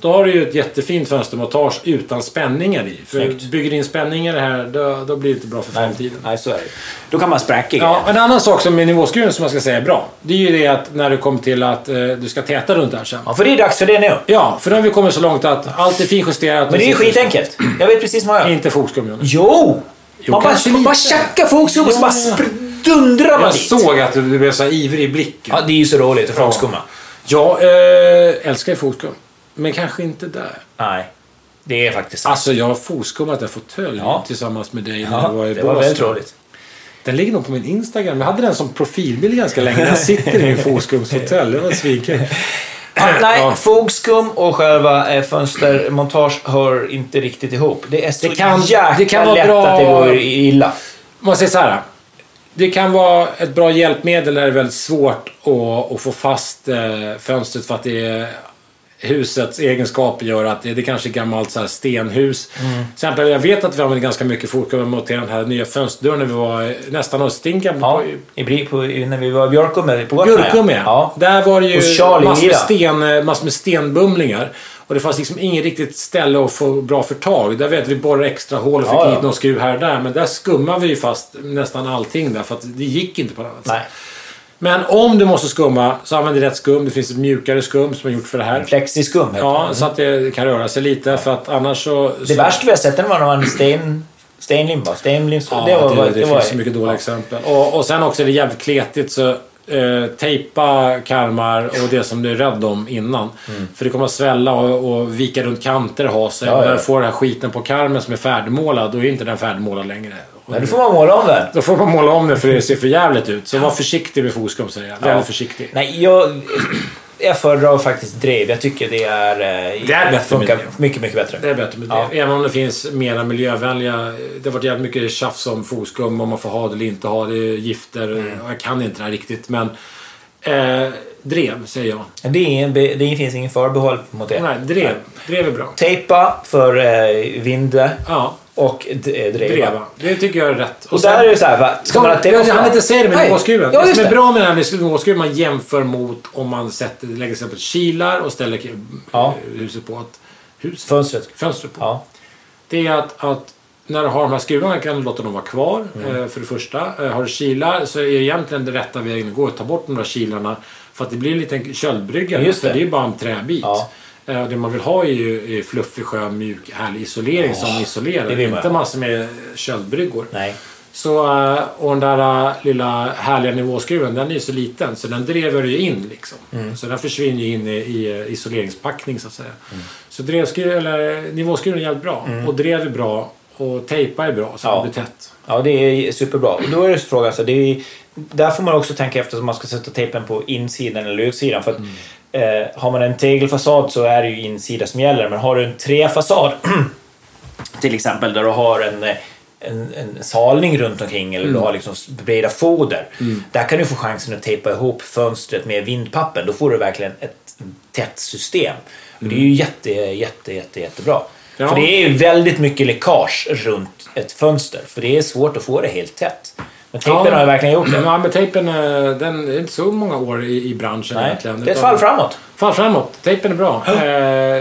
Då har du ju ett jättefint fönstermontage utan spänningar i. För Snyggt. Bygger in spänningar i det här, då, då blir det inte bra för framtiden. Nej, så är det ju. Då kan man spräcka Ja, grejer. en annan sak som med nivåskruven som man ska säga är bra, det är ju det att när du kommer till att eh, du ska täta runt det här sen. Ja, för det är dags för det nu. Ja, för då har vi kommit så långt att allt är finjusterat. Men det är ju skitenkelt. Jag vet precis vad jag gör. Inte fotskum, Johnny. Jo! man bara, kanske man bara lite. tjackar folkskum och så Ja. bara spr- dundrar man Jag dit. såg att du du blev så här ivrig i blicken. Ja, det är ju så roligt att folkskumma. Jag eh, älskar ju fotskum, men kanske inte där. Nej, det är faktiskt sant. Alltså, jag har fotskummat en fåtölj Ja. tillsammans med dig när Ja, du Alltså, var i det var väldigt Båstad. roligt. Den ligger nog på min Instagram. Jag hade den som profilbild ganska länge. Jag sitter i (laughs) min fotskumshotell. Det var svinkul. Ja, nej, Ja. fogskum och själva eh, fönstermontage hör inte riktigt ihop. Det är så Det kan- jäkla det kan vara lätt bra- att det går illa. Man säger så här. Det kan vara ett bra hjälpmedel när det är väldigt svårt att, att få fast eh, fönstret för att det är husets egenskaper gör att det, det kanske är gammalt så här stenhus. Till exempel, jag vet att vi använde ganska mycket fokus mot den här nya fönsterdörren när vi var eh, nästan Östinka. Ja, på i, Bri- på, när vi var i Björkum på Gotland. Gurkum ja. ja. Där var det ju Och Charlie massor med, Lira. sten, eh, massor med stenbumlingar. Och det fanns liksom inget riktigt ställe att få bra förtag. Där vet jag, vi borrade extra hål och fick Ja, hit ja. någon skruv här och där. Men där skummade vi ju fast nästan allting där för att det gick inte på något annat sätt. Nej, Men om du måste skumma så använd rätt skum. Det finns ett mjukare skum som är gjort för det här. flexiskum heter Ja, så att det kan röra sig lite för att annars så... Det så värsta vi har sett den var när man sten, stenlimba. Stenlims, Ja, det var, det, det, var, finns så mycket dåliga exempel. Och, och sen också är det jävligt kletigt så eh, tejpa karmar och det som du är rädd om innan. För det kommer att svälla och, och vika runt kanter och ha sig. Mm. Ja, och ja. när du får den här skiten på karmen som är färdigmålad, då är inte den färdigmålad längre. Och Men då får man måla om den. Då får man måla om den för det ser för jävligt ut. Så var försiktig med foskum säger jag. Väldigt försiktig. Nej, jag, jag föredrar faktiskt drev. Jag tycker det är... eh, Det är bättre funkar miljö. mycket, mycket bättre. Det är bättre med det. Ja. Även om det finns mera miljövänliga. Det har varit jävligt mycket tjafs om foskum, om man får ha det eller inte ha det, gifter. Mm. Jag kan inte det här riktigt, men... Eh, drev, säger jag. Det, är ingen, be- det finns ingen förbehåll mot det. Nej, drev. Drev är bra. Tejpa för eh, vinde Ja, och d- eh, dreva. dreva. Det tycker jag är rätt. Och där är det så här, va? Ska man ha jag tejpa? hann inte säga det med Nej. nivåskruven. Ja, det just som är det. bra med den här med nivåskruven, man jämför mot om man sätter, lägger sig på ett kilar och ställer eh, Ja. huset på ett hus, Fönstret. fönster på. Ja. Det är att, att när du har de här skruvarna kan du låta dem vara kvar Mm. eh, för det första. Eh, har du kilar så är egentligen den rätta vägen att gå att ta bort de där kilarna. För att det blir en liten köldbrygga. Just För det. det är ju bara en träbit. Ja. Eh, och det man vill ha är ju är fluffig, skön, mjuk, härlig isolering som det isolerar. vill man Inte ha. massor med köldbryggor. Nej. Så, eh, och den där eh, lilla härliga nivåskruven, den är ju så liten så den drever ju in liksom. Mm. Så den försvinner ju in i, i eh, isoleringspackning så att säga. Mm. Så drevskruv, eller, nivåskruven är jävligt bra och drev är bra och tejpa är bra så Ja. det blir tätt. Ja, det är superbra. Och då är det frågan, så det är, där får man också tänka efter om man ska sätta tejpen på insidan eller utsidan. För att, Mm. eh, har man en tegelfasad så är det ju insida som gäller, men har du en träfasad (clears throat) till exempel där du har en, eh, en, en salning runt omkring eller Mm. du har liksom breda foder. Där kan du få chansen att tejpa ihop fönstret med vindpapper. Då får du verkligen ett tätt system. Och det är ju jätte, jätte, jätte, jättebra. Mm. Ja. För det är ju väldigt mycket läckage runt ett fönster. För det är svårt att få det helt tätt. Men tejpen har ju verkligen gjort det. Ja, men tejpen eh, den är inte så många år i, i branschen Nej, egentligen. det är ett utan- fall framåt. Fall framåt. Tejpen är bra. Eh,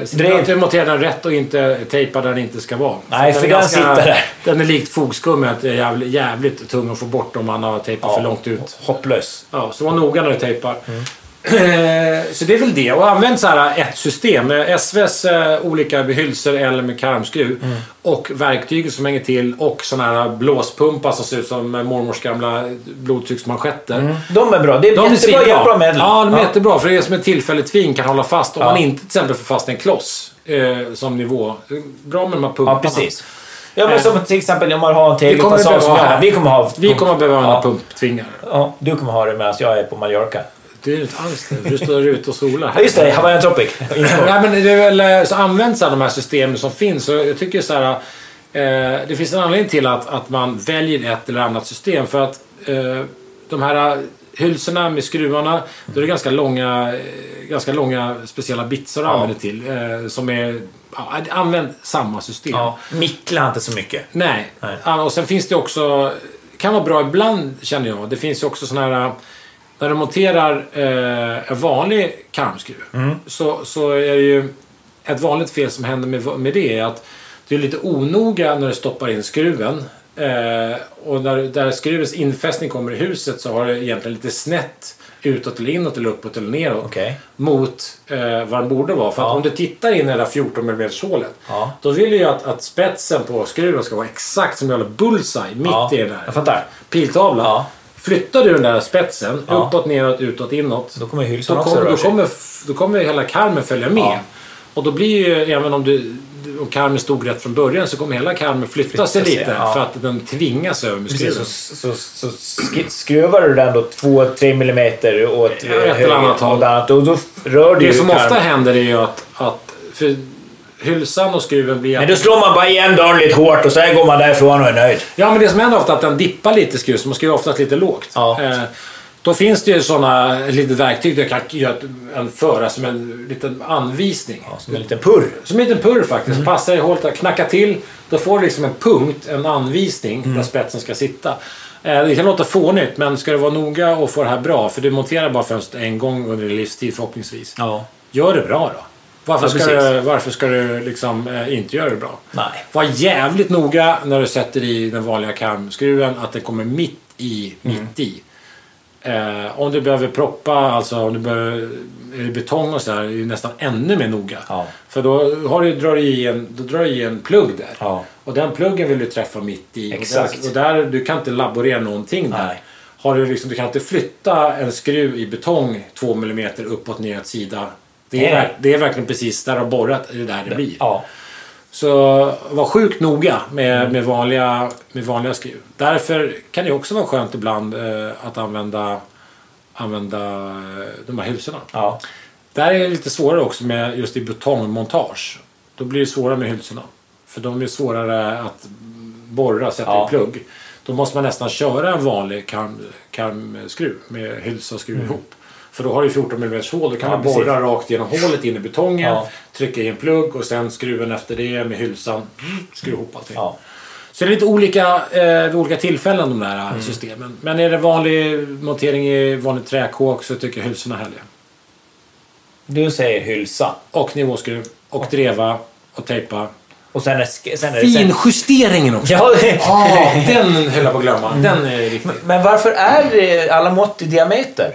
se till Drev. att du monterar den rätt och inte tejpar där den inte ska vara. Nej, Så för är den sitter där. Den är likt fogskummet. är Jävligt, jävligt tung att få bort om man har tejpat för långt ut. Hopplös. Mm. Ja, så var noga när du tejpar. Eh, så det är väl det. Och använd så här ett system. Eh, SVs eh, olika hylsor eller med karmskruv. Mm. Och verktyg som hänger till och sådana här blåspumpar som ser ut som eh, mormors gamla blodtrycksmanschetter. De är bra. Det är De är jättebra, svinbra. jättebra medel. Ja, de är jättebra. För det är som ett tillfälligt tvin kan hålla fast. Om man inte till exempel får fast en kloss eh, som nivå. Bra med de här pumparna. Ja, precis. Ja, men som till exempel om man har en Eh. Vi kommer, tegelfasad behöva som jag ha, har. Vi kommer ha... vi kommer behöva Ja. ha pumptvingar. Ja, du kommer ha det medan jag är på Mallorca. Det är ju inte alls det. Du står ute och solar. Ja, just det. Hawaiian Tropic. (laughs) Nej, men det är väl, eh, så använd så här, de här systemen som finns. Så jag tycker så här, eh, det finns en anledning till att, att man väljer ett eller annat system. För att eh, de här eh, hylsorna med skruvarna, då är det ganska långa, eh, ganska långa speciella bitsar du använder till. Eh, som är, ja, använd samma system. ja, mickla inte så mycket. Nej. Nej. Ja, Och sen finns det också, kan vara bra ibland känner jag, det finns ju också sådana här ah, när du monterar eh, en vanlig karmskruv Mm. så, så är det ju ett vanligt fel som händer med, med det är att du är lite onoga när du stoppar in skruven. Eh, och när, där skruvens infästning kommer i huset så har det egentligen lite snett utåt eller inåt eller uppåt eller neråt Okej. mot eh, vad den borde vara. För att om du tittar in i det där 14 mm hålet Ja. då vill du ju att, att spetsen på skruven ska vara exakt som en jävla bullseye mitt Ja, i den där jag fattar. piltavlan. Ja. Flyttar du den där spetsen Ja. uppåt, neråt, utåt, inåt. Då kommer ju hylsan Då också kommer, då, röra sig. kommer, f- då kommer hela karmen följa med. Ja. Och då blir ju, även om du du- om karmen stod rätt från början så kommer hela karmen flytta, Flytta sig sig, lite ja. för att den tvingas över med skruven. Precis, så, så, så sk- skruvar du den då 2-3 millimeter åt eh, eller höger annat håll. åt annat, och då rör du Det ju som karmen. ofta händer är ju att, att för hylsan och skruven blir... Men då slår man bara igen dörren lite hårt och sen går man därifrån och är nöjd. Ja, men det som händer ofta är att den dippar lite skruv, så man skruvar oftast lite lågt. Ja. Eh, då finns det ju sådana litet verktyg där jag kan göra ett- en föra som en liten anvisning. Som en liten purr. Som en liten purr Mm. faktiskt. Passar i hålet, där, knacka till. Då får du liksom en punkt, en anvisning Mm. där spetsen ska sitta. Eh, Det kan låta fånigt, men ska du vara noga och få det här bra, för du monterar bara fönstret en gång under din livstid förhoppningsvis. Ja. Gör det bra då. Varför, Ja, ska, precis. du, varför ska du liksom eh, inte göra det bra? Nej. Var jävligt noga när du sätter i den vanliga karmskruven att den kommer mitt i, mitt i. Eh, om du behöver proppa, alltså om du behöver är det betong och sådär, är det nästan ännu mer noga. Ja. För då, har du, drar du i en, då drar du i en plugg där. Ja. Och den pluggen vill du träffa mitt i. Exakt. Och där, och där, du kan inte laborera någonting där. Nej. Har du, liksom, du kan inte flytta en skruv i betong 2 mm uppåt, neråt, sida. Det är, Nej. verk- det är verkligen precis där du har borrat, det är där det blir. Ja. Så var sjukt noga med, med, vanliga, med vanliga skruv. Därför kan det också vara skönt ibland eh, att använda, använda eh, de här hylsorna. ja. Där är det lite svårare också med just i betongmontage. Då blir det svårare med hylsorna. För de är svårare att borra, sätta Ja. i plugg. Då måste man nästan köra en vanlig karm, karmskruv med hylsa och skruv ihop. För då har du 14 mm hål. Då kan Mm. Ja, man precis. borra rakt genom hålet in i betongen, Ja. trycka i en plugg och sen skruven efter det med hylsan, skruva ihop allting. Ja. Så det är lite olika eh, vid olika tillfällen de där Mm. systemen. Men är det vanlig montering i vanlig träkåk så tycker jag hylsorna är härliga. Du säger hylsa. och nivåskruv och dreva och tejpa. Och sen är, sk- sen är det... Sen, Finjusteringen också! (laughs) ja, det- Mm. Ja, den höll jag på att glömma. Den är riktig. Men varför är det alla mått i diameter?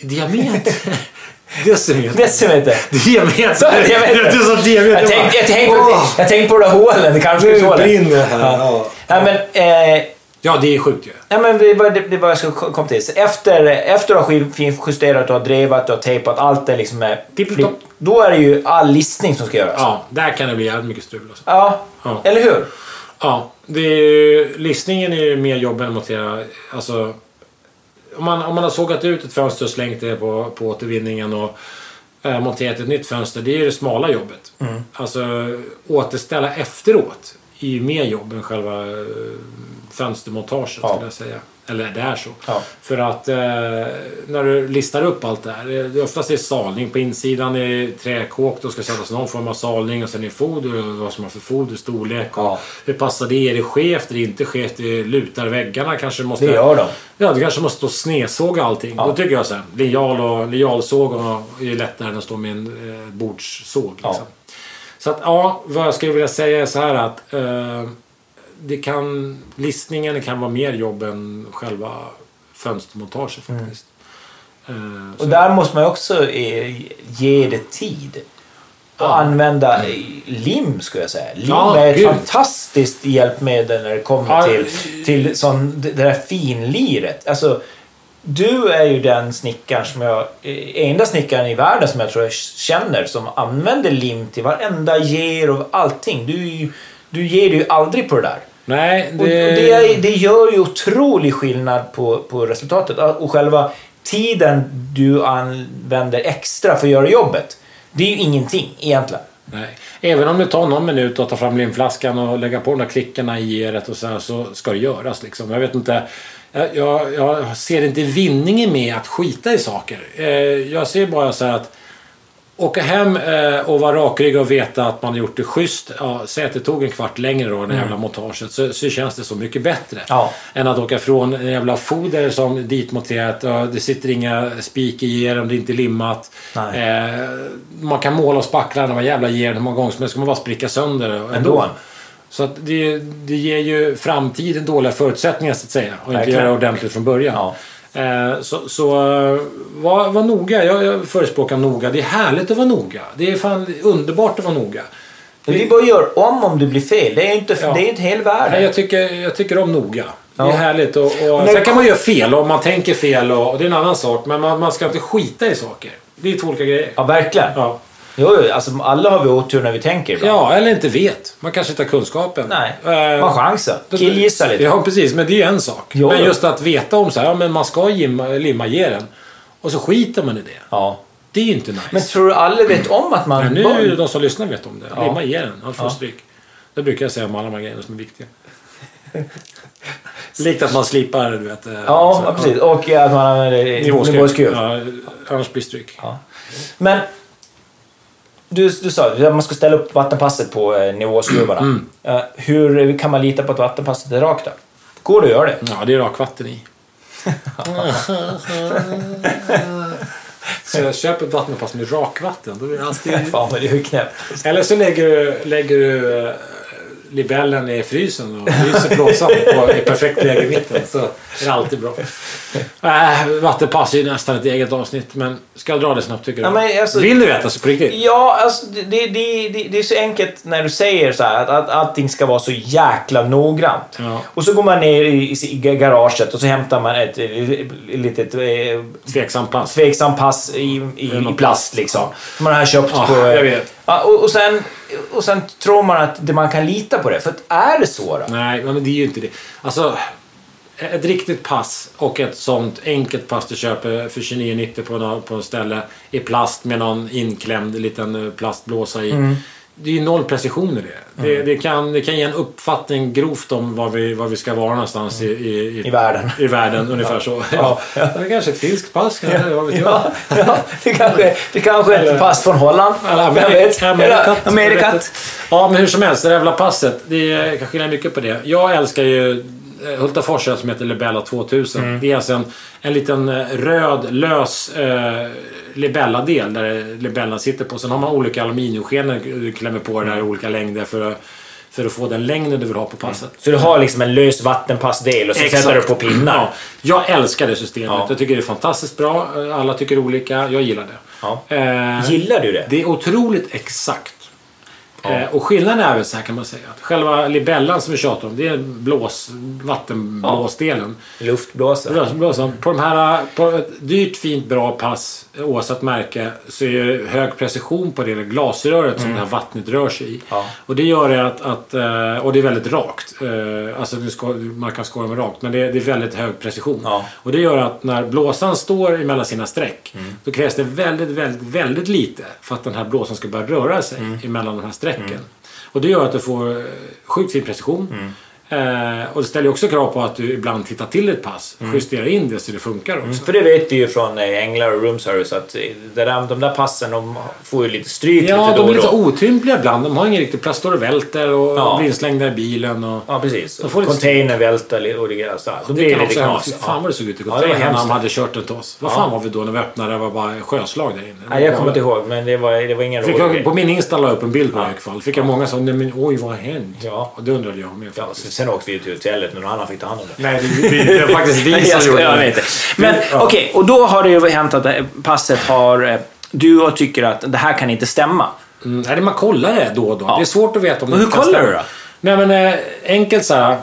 Diameter. (laughs) Decimeter. Decimeter. Så, Diameter. diameter. Du sa diameter. Jag tänkte, jag, tänkte, jag tänkte på det där hålen, Nu karmskruvshålen. brinner det här. Ja. Nej, men, eh, ja, det är sjukt ju. nej, men det var det, det var jag skulle komma till. Så Efter, efter att ha skiv- finjusterat, du har drevat, du har tejpat, allt det liksom är... Tippeltopp. Då är det ju all listning som ska göras. Ja, där kan det bli jävligt mycket strul. Alltså. Ja, Ja. eller hur? Ja, det är ju, listningen är ju mer jobb än att montera. Alltså, om, man, om man har sågat ut ett fönster och slängt det på, på återvinningen och eh, monterat ett nytt fönster, det är ju det smala jobbet. Mm. Alltså återställa efteråt är ju mer jobb än själva eh, fönstermontaget Ja. skulle jag säga. Eller det är så. Ja. För att eh, när du listar upp allt det här. eh, Det är oftast är salning på insidan. Det är träkåk. Då ska sättas någon form av salning. Och sen är foder. och Vad som har för foder. Storlek. Och Ja. Hur passar det? Är det skevt? Är det inte skevt? Det lutar väggarna kanske? Måste, Det gör de. Ja, du kanske måste stå och snedsåga allting. Då tycker jag så här. Linjal och linjalsåg och- är lättare än att stå med en eh, bordssåg. Liksom. Så att ja, vad jag skulle vilja säga är så här att eh, det kan, Mm. listningen kan vara mer jobb än själva fönstermontaget faktiskt. Eh, Och där måste man ju också eh, ge det tid. Och använda eh, lim, skulle jag säga. Lim Ja, är ett gud. fantastiskt hjälpmedel när det kommer Ja, eh, till, till sån, det där finliret. Alltså, du är ju den snickaren som jag, eh, enda snickaren i världen som jag tror jag känner som använder lim till varenda ger och allting. Du, är ju- du ger dig ju aldrig på det där. nej, Och, och det... det, är- det gör ju otrolig skillnad på, på resultatet. Och själva tiden du använder extra för att göra jobbet, det är ju ingenting egentligen. Nej. Även om det tar någon minut att ta fram limflaskan och lägga på de där klickarna i geret och så, här, så ska det göras. Liksom. Jag vet inte. Jag, jag, jag ser inte vinningen med att skita i saker. Eh, jag ser bara så här att åka hem eh, och vara rakryggad och veta att man har gjort det schysst. Ja, säg att det tog en kvart längre då, det jävla montaget, så, så känns det så mycket bättre. Mm. Ja. Än att åka från en jävla foder som ditmonterat, ja, det sitter inga spik i geren, det är inte limmat. Nej. Eh, man kan måla och spackla de här jävla geren hur många gånger som helst, ska man bara spricka sönder ändå. Ändå. Så att det, det ger ju framtiden dåliga förutsättningar så att säga. Och inte Verkligen. göra ordentligt från början. Ja. Eh, Så, så eh, var, var noga. Jag, jag förespråkar noga. Det är härligt att vara noga. Det är fan underbart att vara noga. Men Det är bara att göra om om det blir fel. Det är ju inte, Ja. det är ju inte hela Nej, världen. jag, tycker, jag tycker om noga. Det är Ja. härligt. Och, och, Men- sen kan man göra fel om man tänker fel och, och det är en annan sak. Men man, man ska inte skita i saker. Det är två olika grejer. Ja, verkligen. Ja. Jo, jo, alltså, alla har vi otur när vi tänker ibland. ja, eller inte vet. Man kanske inte har kunskapen. Nej, Eh, man chansar. Då- Killgissa lite. Ja, precis. Men det är ju en sak. Jo, men jo. just att veta om så här, ja, men man ska gimma, limma geren. Och så skiter man i det. Ja. Det är ju inte nice. Men tror du alla vet om att man... Men nu är bara- det ju de som lyssnar vet om det. Ja. Limma geren, han får Ja. stryk. Det brukar jag säga om alla de här grejerna som är viktiga. Likt att man slipar, du vet. eh, Ja, så- ja, precis. Och att man använder Nivåskruv. nivåskruv. Ja, annars blir stryk. Ja. Men du, du sa att man ska ställa upp vattenpasset på eh, nivåskruvarna. Eh, hur kan man lita på att vattenpasset är rakt då? Går det att göra det? Ja, det är rakvatten (laughs) i. så jag köper ett vattenpass med rakvatten. Då blir det alltid... Fan vad det är ju knäppt. Eller så lägger du, lägger du eh, libellen i frysen och fryser blåsan på i perfekt läge i mitten. Så är det alltid bra. Äh, vattenpass är ju nästan ett eget avsnitt, men ska jag dra det snabbt tycker du? Ja, men alltså- Vill du veta så på riktigt? Ja, alltså det, det, det, det- det är så enkelt när du säger så här att, att allting ska vara så jäkla noggrant. Ja. Och så går man ner i, i garaget och så hämtar man ett eh, litet eh, Tveksam pass. tveksam pass i, i, någon i plast Ah, liksom. Som man har köpt Ja, på... jag vet. Ja, och, och, sen, och sen tror man att det, man kan lita på det. För att är det så då? Nej, men det är ju inte det. Alltså, ett riktigt pass och ett sånt enkelt pass du köper för 29,90 på, nå- på en ställe i plast med någon inklämd liten eh, plastblåsa i. Det är ju noll precision i det. Det, det, kan, det kan ge en uppfattning grovt om var vi, var vi ska vara någonstans i, i, I världen. I världen, ungefär så. Ja. Det är kanske ett finskt pass, kanske, vad vet jag. (laughs) Ja, ja, det kanske, det kanske är ett pass från Holland. Eller Vem vet? Amerikat. Eller Amerikat. Ja, men hur som helst, det där jävla passet. Det är, kan skilja mycket på det. Jag älskar ju eh, Hultafors öl som heter Libella 2000. Mm. Det är alltså en, en liten eh, röd, lös eh, Libella-del där Libellan sitter på. Sen har man olika aluminiumskenor du klämmer på det där i Mm. olika längder för, att- för att få den längden du vill ha på passet. Så du har liksom en lös vattenpassdel och så sätter du på Ja, pinnar. jag älskar det systemet. Ja. Jag tycker det är fantastiskt bra. Alla tycker olika. Jag gillar det. Ja. Eh, Gillar du det? det är otroligt exakt. Eh, och skillnaden är väl så här kan man säga. Att själva libellan som vi tjatar om, det är blås, vattenblåsdelen. Luftblåsa. Blåsan. På, de här, på ett dyrt, fint, bra pass, oavsett märke, så är det hög precision på det där glasröret som det här vattnet rör sig i. Mm. Ja. Och det gör det att, att... eh, Och det är väldigt rakt. Eh, Alltså, det ska, man kan skoja med rakt, men det, det är väldigt hög precision. Ja. Och det gör att när blåsan står emellan sina streck, Mm. då krävs det väldigt, väldigt, väldigt lite för att den här blåsan ska börja röra sig Mm. emellan de här strecken. Och det gör att du får eh, sjukt fin precision. Mm. Eh, och det ställer ju också krav på att du ibland tittar till ett pass, Mm. justerar in det så det funkar också. För det vet vi ju från eh, Änglar och Room Service att eh, det där, de där passen de får ju lite stryk Ja, lite de då är och lite då. otympliga ibland. De har ingen riktig plats, står och välter och Ja. blir inslängda i bilen. Och... Ja, precis. får lite- Container välter li- och det där. så här. Då Det blir kan det också lite hända. Fy knas. fan vad det såg ut i Ja, det var containern när de hemskt. hade kört den till oss. Vad fan var vi då när vi öppnade? Det var bara sjöslag där inne. Det var Nej, jag galet. kommer inte ihåg, men det var, det var ingen Fick rolig jag, grej. på min Insta la jag upp en bild på det i alla fall. Fick jag många som "Nej, men oj vad har hänt? Ja. Och det undrade jag med Ja, faktiskt. så Sen åkte vi ut till hotellet, men någon annan fick ta hand om det. Nej, det, det, det är faktiskt (laughs) vi Nej, (laughs) jag, som ska, gjorde jag det. vet inte. Men okej, och då har det ju hänt att det här passet har... eh, Du har- tycker att det här kan inte stämma. Mm, nej, man kollar det då och då. Det är svårt att veta om Men hur kan kollar stämma. du då? Nej men eh, enkelt så här.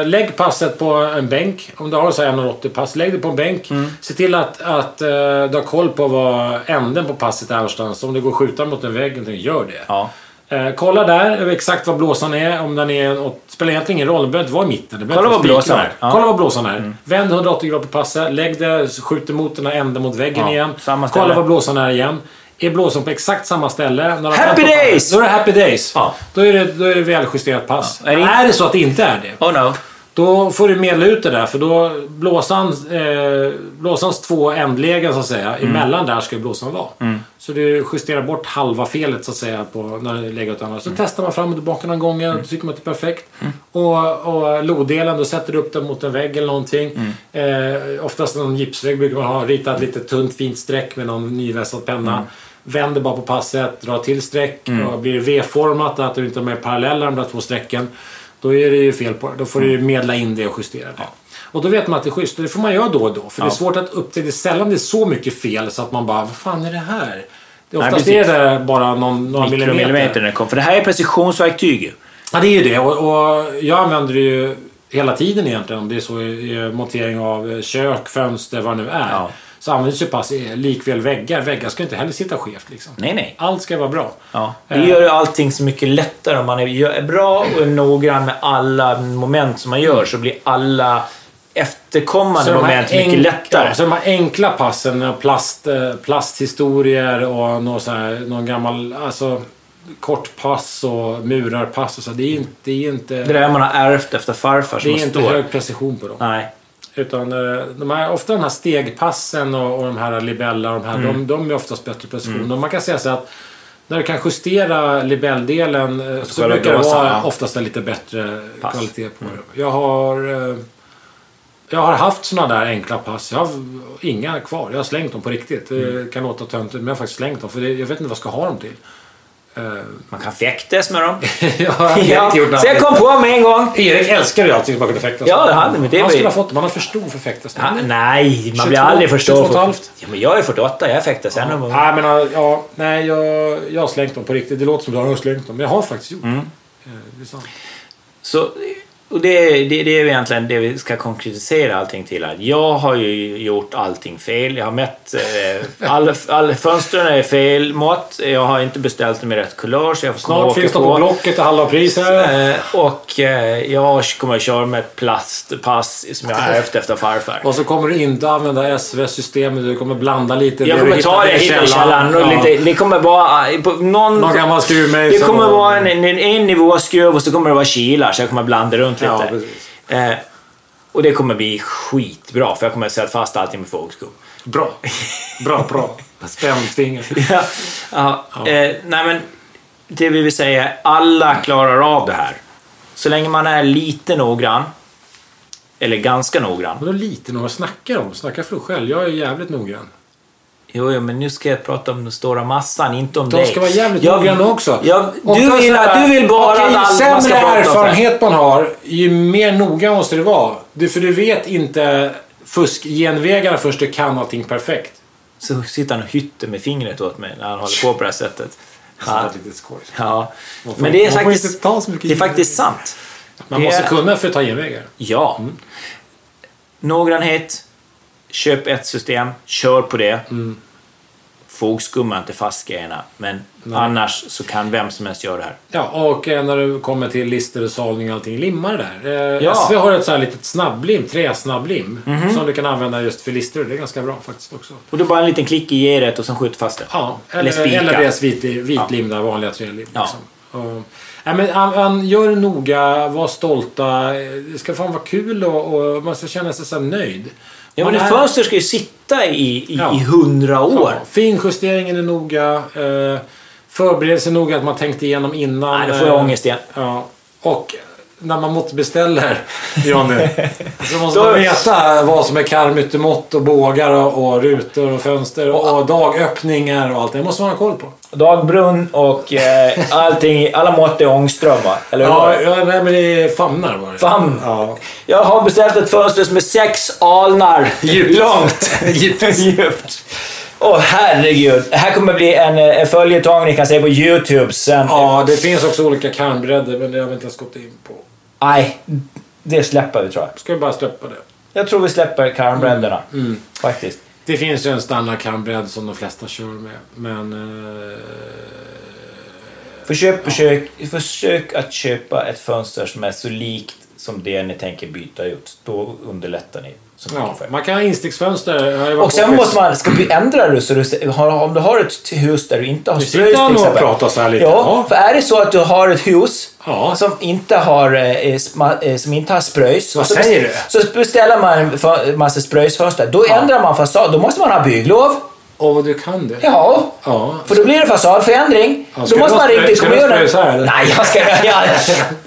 Eh, lägg passet på en bänk. Om du har så här 1,80 pass, lägg det på en bänk. Se till att, att eh, du har koll på var änden på passet är någonstans. Om det går att skjuta mot en vägg, eller någonting, gör det. Ja. Eh, kolla där eh, exakt var blåsan är. Om den är, och, spelar egentligen ingen roll, den behöver inte vara i mitten. Den behöver Kolla inte var vara blåsan spikrad. är. Ja. Mm. Kolla var blåsan är. Vänd 180 grader på passet, lägg det, skjut emot den här änden mot väggen Ja, igen. samma ställe. Kolla var blåsan är igen. Är blåsan på exakt samma ställe? När de Happy vänder på passet, days! Då är det happy days. Ja. Då, är det, då är det väljusterat pass. Ja. Är det- Är det så att det inte är det, Oh no. då får du medla ut det där. För då blåsans, eh, blåsans två ändlägen så att säga, emellan där ska ju blåsan vara. Så du justerar bort halva felet så att säga på, när du lägger ut annat. Så testar man fram och tillbaka någon gång och tycker man att det är perfekt. Och, och lodelen, då sätter du upp den mot en vägg eller någonting. Eh, oftast någon gipsvägg brukar man ha. Rita ett litet tunt fint streck med någon nyvässad penna. Vänder bara på passet, drar till streck. Och blir det V-format, att du inte har med parallella de där två strecken. Då är det ju fel på Då får du ju Mm. medla in det och justera det. Och då vet man att det är schysst. Och det får man göra då och då. För det är svårt att upptäcka. Det är sällan det är så mycket fel så att man bara, vad fan är det här? Det är Nej, oftast precis. är det bara någon, några Mikromillimeter millimeter. när det kom. För det här är precisionsverktyg ju. Ja, det är ju det. Och, och jag använder det ju hela tiden egentligen. Om det är så i, i montering av eh, kök, fönster, vad det nu är. Ja. Så används ju pass i- likväl väggar. Väggar ska inte heller sitta skevt liksom. Nej, nej. Allt ska vara bra. Eh, Ja. Det gör ju allting så mycket lättare om man är, gör- är bra och är noggrann med alla moment som man gör så blir alla efterkommande Mm. de här moment mycket enk- lättare. Ja, så de här enkla passen, några plast, eh, plasthistorier och någon, så här, någon gammal alltså, kortpass och murarpass och så. Det är inte, det är inte, det där man har ärvt efter farfar det som är har inte står. hög precision på dem. Nej. Utan eh, de här, ofta de här stegpassen och, och de här libella, de, här, de, de är oftast bättre precision. Och man kan säga så att när du kan justera libelldelen eh, så, själva brukar det blåsan, vara ja. oftast en lite bättre Pass. kvalitet på det. Jag har, eh, jag har haft sådana där enkla pass. Jag har inga kvar. Jag har slängt dem på riktigt. Det kan låta töntigt men jag har faktiskt slängt dem för det, jag vet inte vad jag ska ha dem (laughs) till. Man kan fäktas (laughs) med dem. jag har ja. inte gjort något Så jag annat. kom på mig en gång. Erik älskade ju allting som man kunde fäktas Ja, med. det hade- men det Han var ju- skulle ha fått det. Man har för stor för fäktas. Ja, Nej, man 22, blir aldrig för 22 och stor. ett halvt. Ja, men jag är 48, jag fäktas ännu. mer. Nej, men äh, ja, nej jag, jag har slängt dem på riktigt. Det låter som att jag har slängt dem, men jag har faktiskt gjort Mm. det. Eh, det. är sant. Så, och det, det, det är ju egentligen det vi ska konkretisera allting till. Här. Jag har ju gjort allting fel. Jag har mätt... Eh, alla, alla fönstren är fel mått. Jag har inte beställt dem i rätt kulör så jag får Snart åka finns de på Blocket och halva priser. Eh, och eh, jag kommer att köra med ett plastpass som jag har ärvt efter farfar. Och så kommer du inte använda SV-systemet. Du kommer blanda lite. Jag det kommer du ta det hittade i hit i källaren. Ja. Och lite, det kommer vara... eh, På någon, Någon gammal skruvmejsel. det kommer vara en, en, en nivå skruv och så kommer det vara kilar så jag kommer blanda runt Ja, lite. precis. eh, och det kommer bli skitbra för jag kommer sätta fast allting med fågelskog. (laughs) Bra. Bra, bra. Spänd finger. ja, ja, Eh, nej men, det vi vill säga är alla klarar av det här. Så länge man är lite noggrann, eller ganska noggrann, Vadå lite? Några snackar om? Snacka för dig själv. Jag är jävligt noggrann. Jo, jo, men nu ska jag prata om den stora massan, inte om De dig. ska vara jävligt Jag- noggranna också. jag- Och du, ta vill, så här- att du vill bara Okej, att Ju alla- man ska sämre prata om det. erfarenhet man har, ju mer noga måste det vara. Du, för du vet inte fuskgenvägarna först du kan allting perfekt. Så sitter han och hytter med fingret åt mig när han håller på på det här sättet. Ja. Ja, Det är lite skoj. ja. Man får men inte- det är man får faktiskt, inte ta så mycket det är i- faktiskt sant. Man Det måste är- kunna för att ta genvägar. Ja. Noggrannhet, köp ett system, kör på det. Mm. Fogskumma inte fast grejerna, men annars så kan vem som helst göra det här. Ja, och eh, när du kommer till lister och salning och allting, limma det där. Eh, Ja. Mhm. SV har ett så här litet snabblim, träsnabblim, som du kan använda just för listor. Det är ganska bra faktiskt också. Och då bara en liten klick i geret och sen skjuter fast det. Ja, Eller eller, spika. eller deras vitli- vitlim, där vanliga trälim. Ja. Liksom. Och, nej, men, an, an, gör det noga, var stolta. eh, Det ska fan vara kul och, och man ska känna sig så här nöjd. Ja, Man men ett är- fönster ska ju sitta i, i, Ja. i hundra år. Ja, finjusteringen är noga. Eh, förberedelsen är noga, att man tänkte igenom innan. Nej, då får jag eh, ångest igen. Ja, och när man (laughs) måttbeställer, Johnny, så måste man veta vad som är karmyttermått och bågar och, och rutor och fönster och, dagöppningar och allt det. Det måste man ha koll på. Dagbrunn och eh, allting, alla mått är Ångström va? Eller hur? Ja, ja men det är famnar var det. Fan! Ja. Jag har beställt ett fönster som är sex alnar Djupt. långt. (laughs) Djupt. Åh herregud. Det här kommer bli en, eh, en följetong ni kan se på YouTube sen. ja, det finns också olika karmbredder men det har vi inte ens gått in på. Nej, det släpper vi tror jag. Ska vi bara släppa det. Jag tror vi släpper karmbredderna. Faktiskt. Det finns ju en standardkarmbredd som de flesta kör med, men... Eh, Försök, försök, försök att köpa ett fönster som är så likt som det ni tänker byta ut. Då underlättar ni. Så mycket ja, för er. man kan ha instegsfönster. Jag har ju varit Och sen på- måste man, ska vi ändra det så du, har, om du har ett hus där du inte har Nu strös sitter han och pratar så här lite. Ja, Ja. för är det så att du har ett hus Ja. som inte har, eh, sma- eh, som inte har spröjs. Vad så säger bes- Så beställer man en fa- massa spröjsfönster. Då Ja. ändrar man fasad. Då måste man ha bygglov. Åh, du kan det. Ja. Ja. För då blir det fasadförändring. Ja, ska då du måste ha man spröj- ringa till ska du ha kommunen. spröjs här, eller? Nej, jag ska... Jag,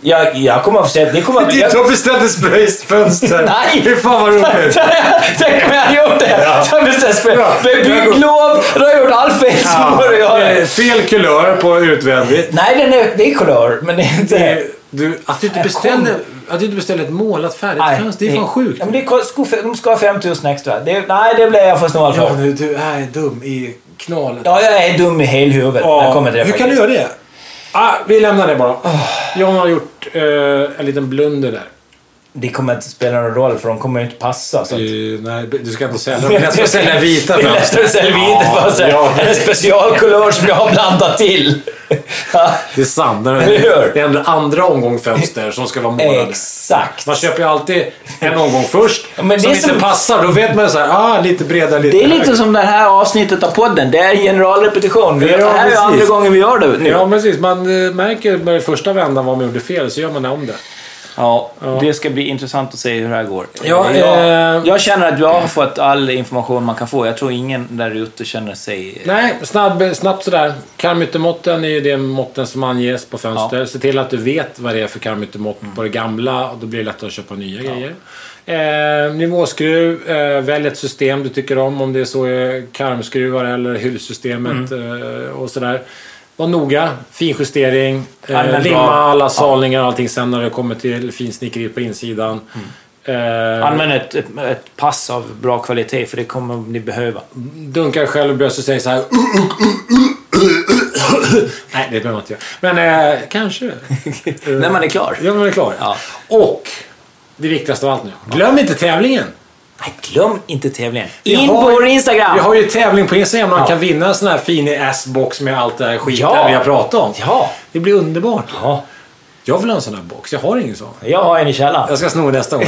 jag, jag kommer att få se... Det kommer att... Jag, har beställt ett spröjst fönster. Nej! Fy fan vad (laughs) roligt! (laughs) Tänk om jag hade gjort det! Ja. Så jag bestämde spröj. Ja. Med bygglov, då har jag gjort allt fel som går att Ja, eh, göra. fel kulör på utvändigt. Nej, den är, det är kolor, men det är inte... Du, att, du inte beställer, att du inte beställer ett målat färdigt Nej, fönster, det är fan sjukt. Ja, men det är, sko- sko- de ska ha 5000 extra. Det, är- nej, det blir jag för snål Ja, för. nu, du är dum i knallet. Ja, jag är dum i hela huvudet. när Jag kommer till det Hur kan du faktiskt. göra det? Ah, vi lämnar det bara. John har gjort eh, en liten blunder där. Det kommer inte spela någon roll, för de kommer ju inte passa. Så att... Eh, nej, du ska inte sälja dem. Det är lättare att (laughs) sälja vita Det är lättare att sälja vita fönster. Ja, ja, En specialkolor som jag har blandat till. Ja, det är sant. Det Eller hur? är det är en andra omgång fönster som ska vara målade. Exakt. Man köper ju alltid en omgång först men det som är inte som- passar. Då vet man ju såhär, ah, lite bredare, lite Det är lite högre. som det här avsnittet av podden. Det är generalrepetition. Vi, Ja, det här är precis. andra gången vi gör det nu. Ja, precis. Man eh, märker med första vändan vad man gjorde fel, så gör man om det. Ja, det ska bli intressant att se hur det här går. Ja, jag, eh, jag känner att jag har fått all information man kan få. Jag tror ingen där ute känner sig... Nej, snabb, snabbt sådär. Karmyttermåtten är ju det måtten som anges på fönster. Se till att du vet vad det är för karmyttermått på det gamla och då blir det lättare att köpa nya grejer. Eh, nivåskruv, eh, välj ett system du tycker om. Om det är så är karmskruvar eller hyllsystemet eh, och sådär. Var noga, finjustering, eh, Använd limma bra. alla salningar och allting sen när det kommer till finsnickeri på insidan. Eh, Använd ett, ett, ett pass av bra kvalitet, för det kommer ni behöva. dunkar själv i bröstet och säger så här. "Uh, Nej, det behöver man inte göra. Men eh, kanske. När man är klar. Ja, men det är klart. Ja. Och det viktigaste av allt nu. Glöm inte tävlingen. Nej, glöm inte tävlingen. Vi In har- på vår Instagram! Vi har ju tävling på Instagram där man kan vinna en sån här fin ass-box med allt det här skiten Ja. vi har pratat om. Ja. Det blir underbart. Ja, Jag vill ha en sån här box. Jag har ingen sån. jag har en i källaren. Jag ska sno nästa gång.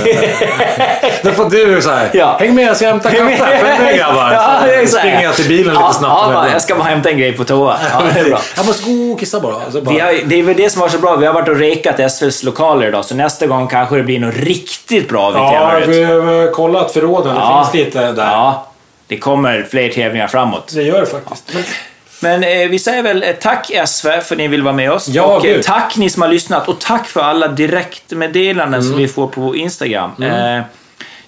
(laughs) Då får du så här. Ja. Häng med jag ska hämta kaffe. Följ med grabbar. (laughs) Ja, det är Så så här. springer jag till bilen ja, lite snabbt. Ja, bara, jag ska bara hämta en grej på toa. Ja, det är bra. (laughs) Jag måste gå och kissa bara. Alltså bara. Vi har, det är väl det som var så bra. Vi har varit och rekat SVs lokaler idag, så nästa gång kanske det blir något riktigt bra vi Ja, tävlar ut. vi har kollat förråden. Det Ja. finns lite där. Ja, det kommer fler tävlingar framåt. Det gör det faktiskt. Men, Men eh, vi säger väl eh, tack SV för att ni vill vara med oss. Ja, och eh, gud. tack ni som har lyssnat och tack för alla direktmeddelanden Mm. som vi får på vår Instagram. Eh,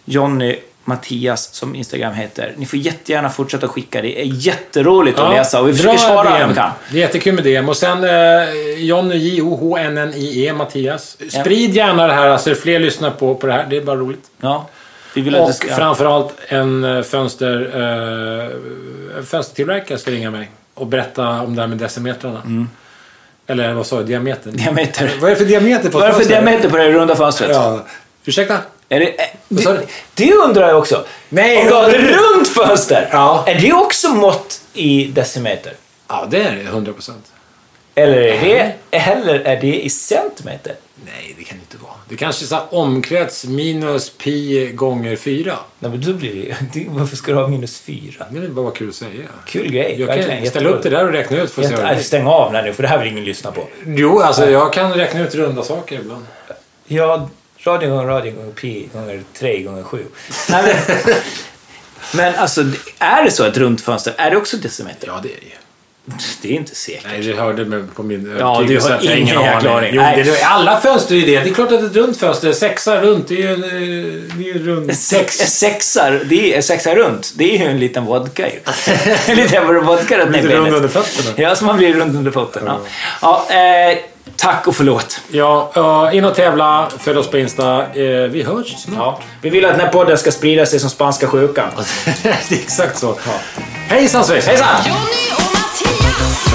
Jonny Mattias som Instagram heter. Ni får jättegärna fortsätta skicka. Det är jätteroligt att läsa och vi försöker Bra svara DM. när vi kan. Det är jättekul med DM. Och sen eh, Jonny J-O-H-N-N-I-E E, Mattias. Sprid gärna det här så det är fler lyssnar på, på det här. Det är bara roligt. Ja, vi vill att det Och ska... framförallt en eh, fönster, eh, en fönstertillverkare ska ringa mig och berätta om det här med decimetrarna. Eller vad sa jag? Diametern? (laughs) Mm. Diameter. Vad är det för diameter på Vad är det för fönster? diameter på det runda fönstret? Ja. Ursäkta? Är det, eh, Vad sa du? Det undrar jag också. Nej, Om du har ett jag- runt fönster, Ja. är det också mått i decimeter? Ja, det är det. 100 procent. Eller är det, eller är det i centimeter? Nej, det kan det inte vara. Det kanske är så här omkrets minus pi gånger fyra. Nej, men då blir det, ju- varför ska du ha minus fyra? Det är väl bara kul att säga. Kul grej. Jag kan ställa upp det där och räkna ut för att se vad Jätte, det stäng av nu, för det här vill ingen lyssna på. är. Jo, alltså jag kan räkna ut runda saker ibland. Ja, radio gånger radio gånger pi gånger tre gånger sju. Nej, men, (laughs) Men alltså, är det så ett runt fönster? Är det också decimeter? Ja, det är det ju. Det är inte säkert. Nej, du hörde mig på min Ja, övertygelse du har att jag ingen aning. jäkla aning. Jo, Nej. det, det, alla fönster är ju det. Det är klart att ett runt fönster är sexa runt. Det är ju en, eh, det är ju (laughs) runt. Sex. Sexar, det är sexar runt. Det är ju en liten vodka (laughs) ju. en liten vodka runt Lite näbbbenet. rund under fötterna. Ja, så man blir rund under fötterna. Ja. eh, tack och förlåt. Ja, ja, in och tävla. Följ oss på Insta. Eh, vi hörs snart. Ja. Vi vill att den här podden ska sprida sig som spanska sjukan. (laughs) det är exakt så. Hejsan svejsan! Hejsan! Johnny och Mattias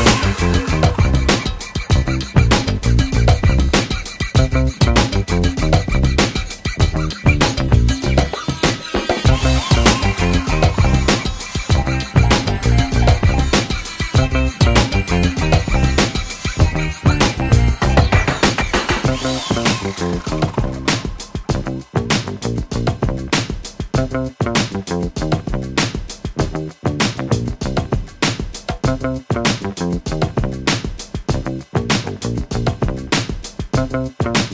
Thank you.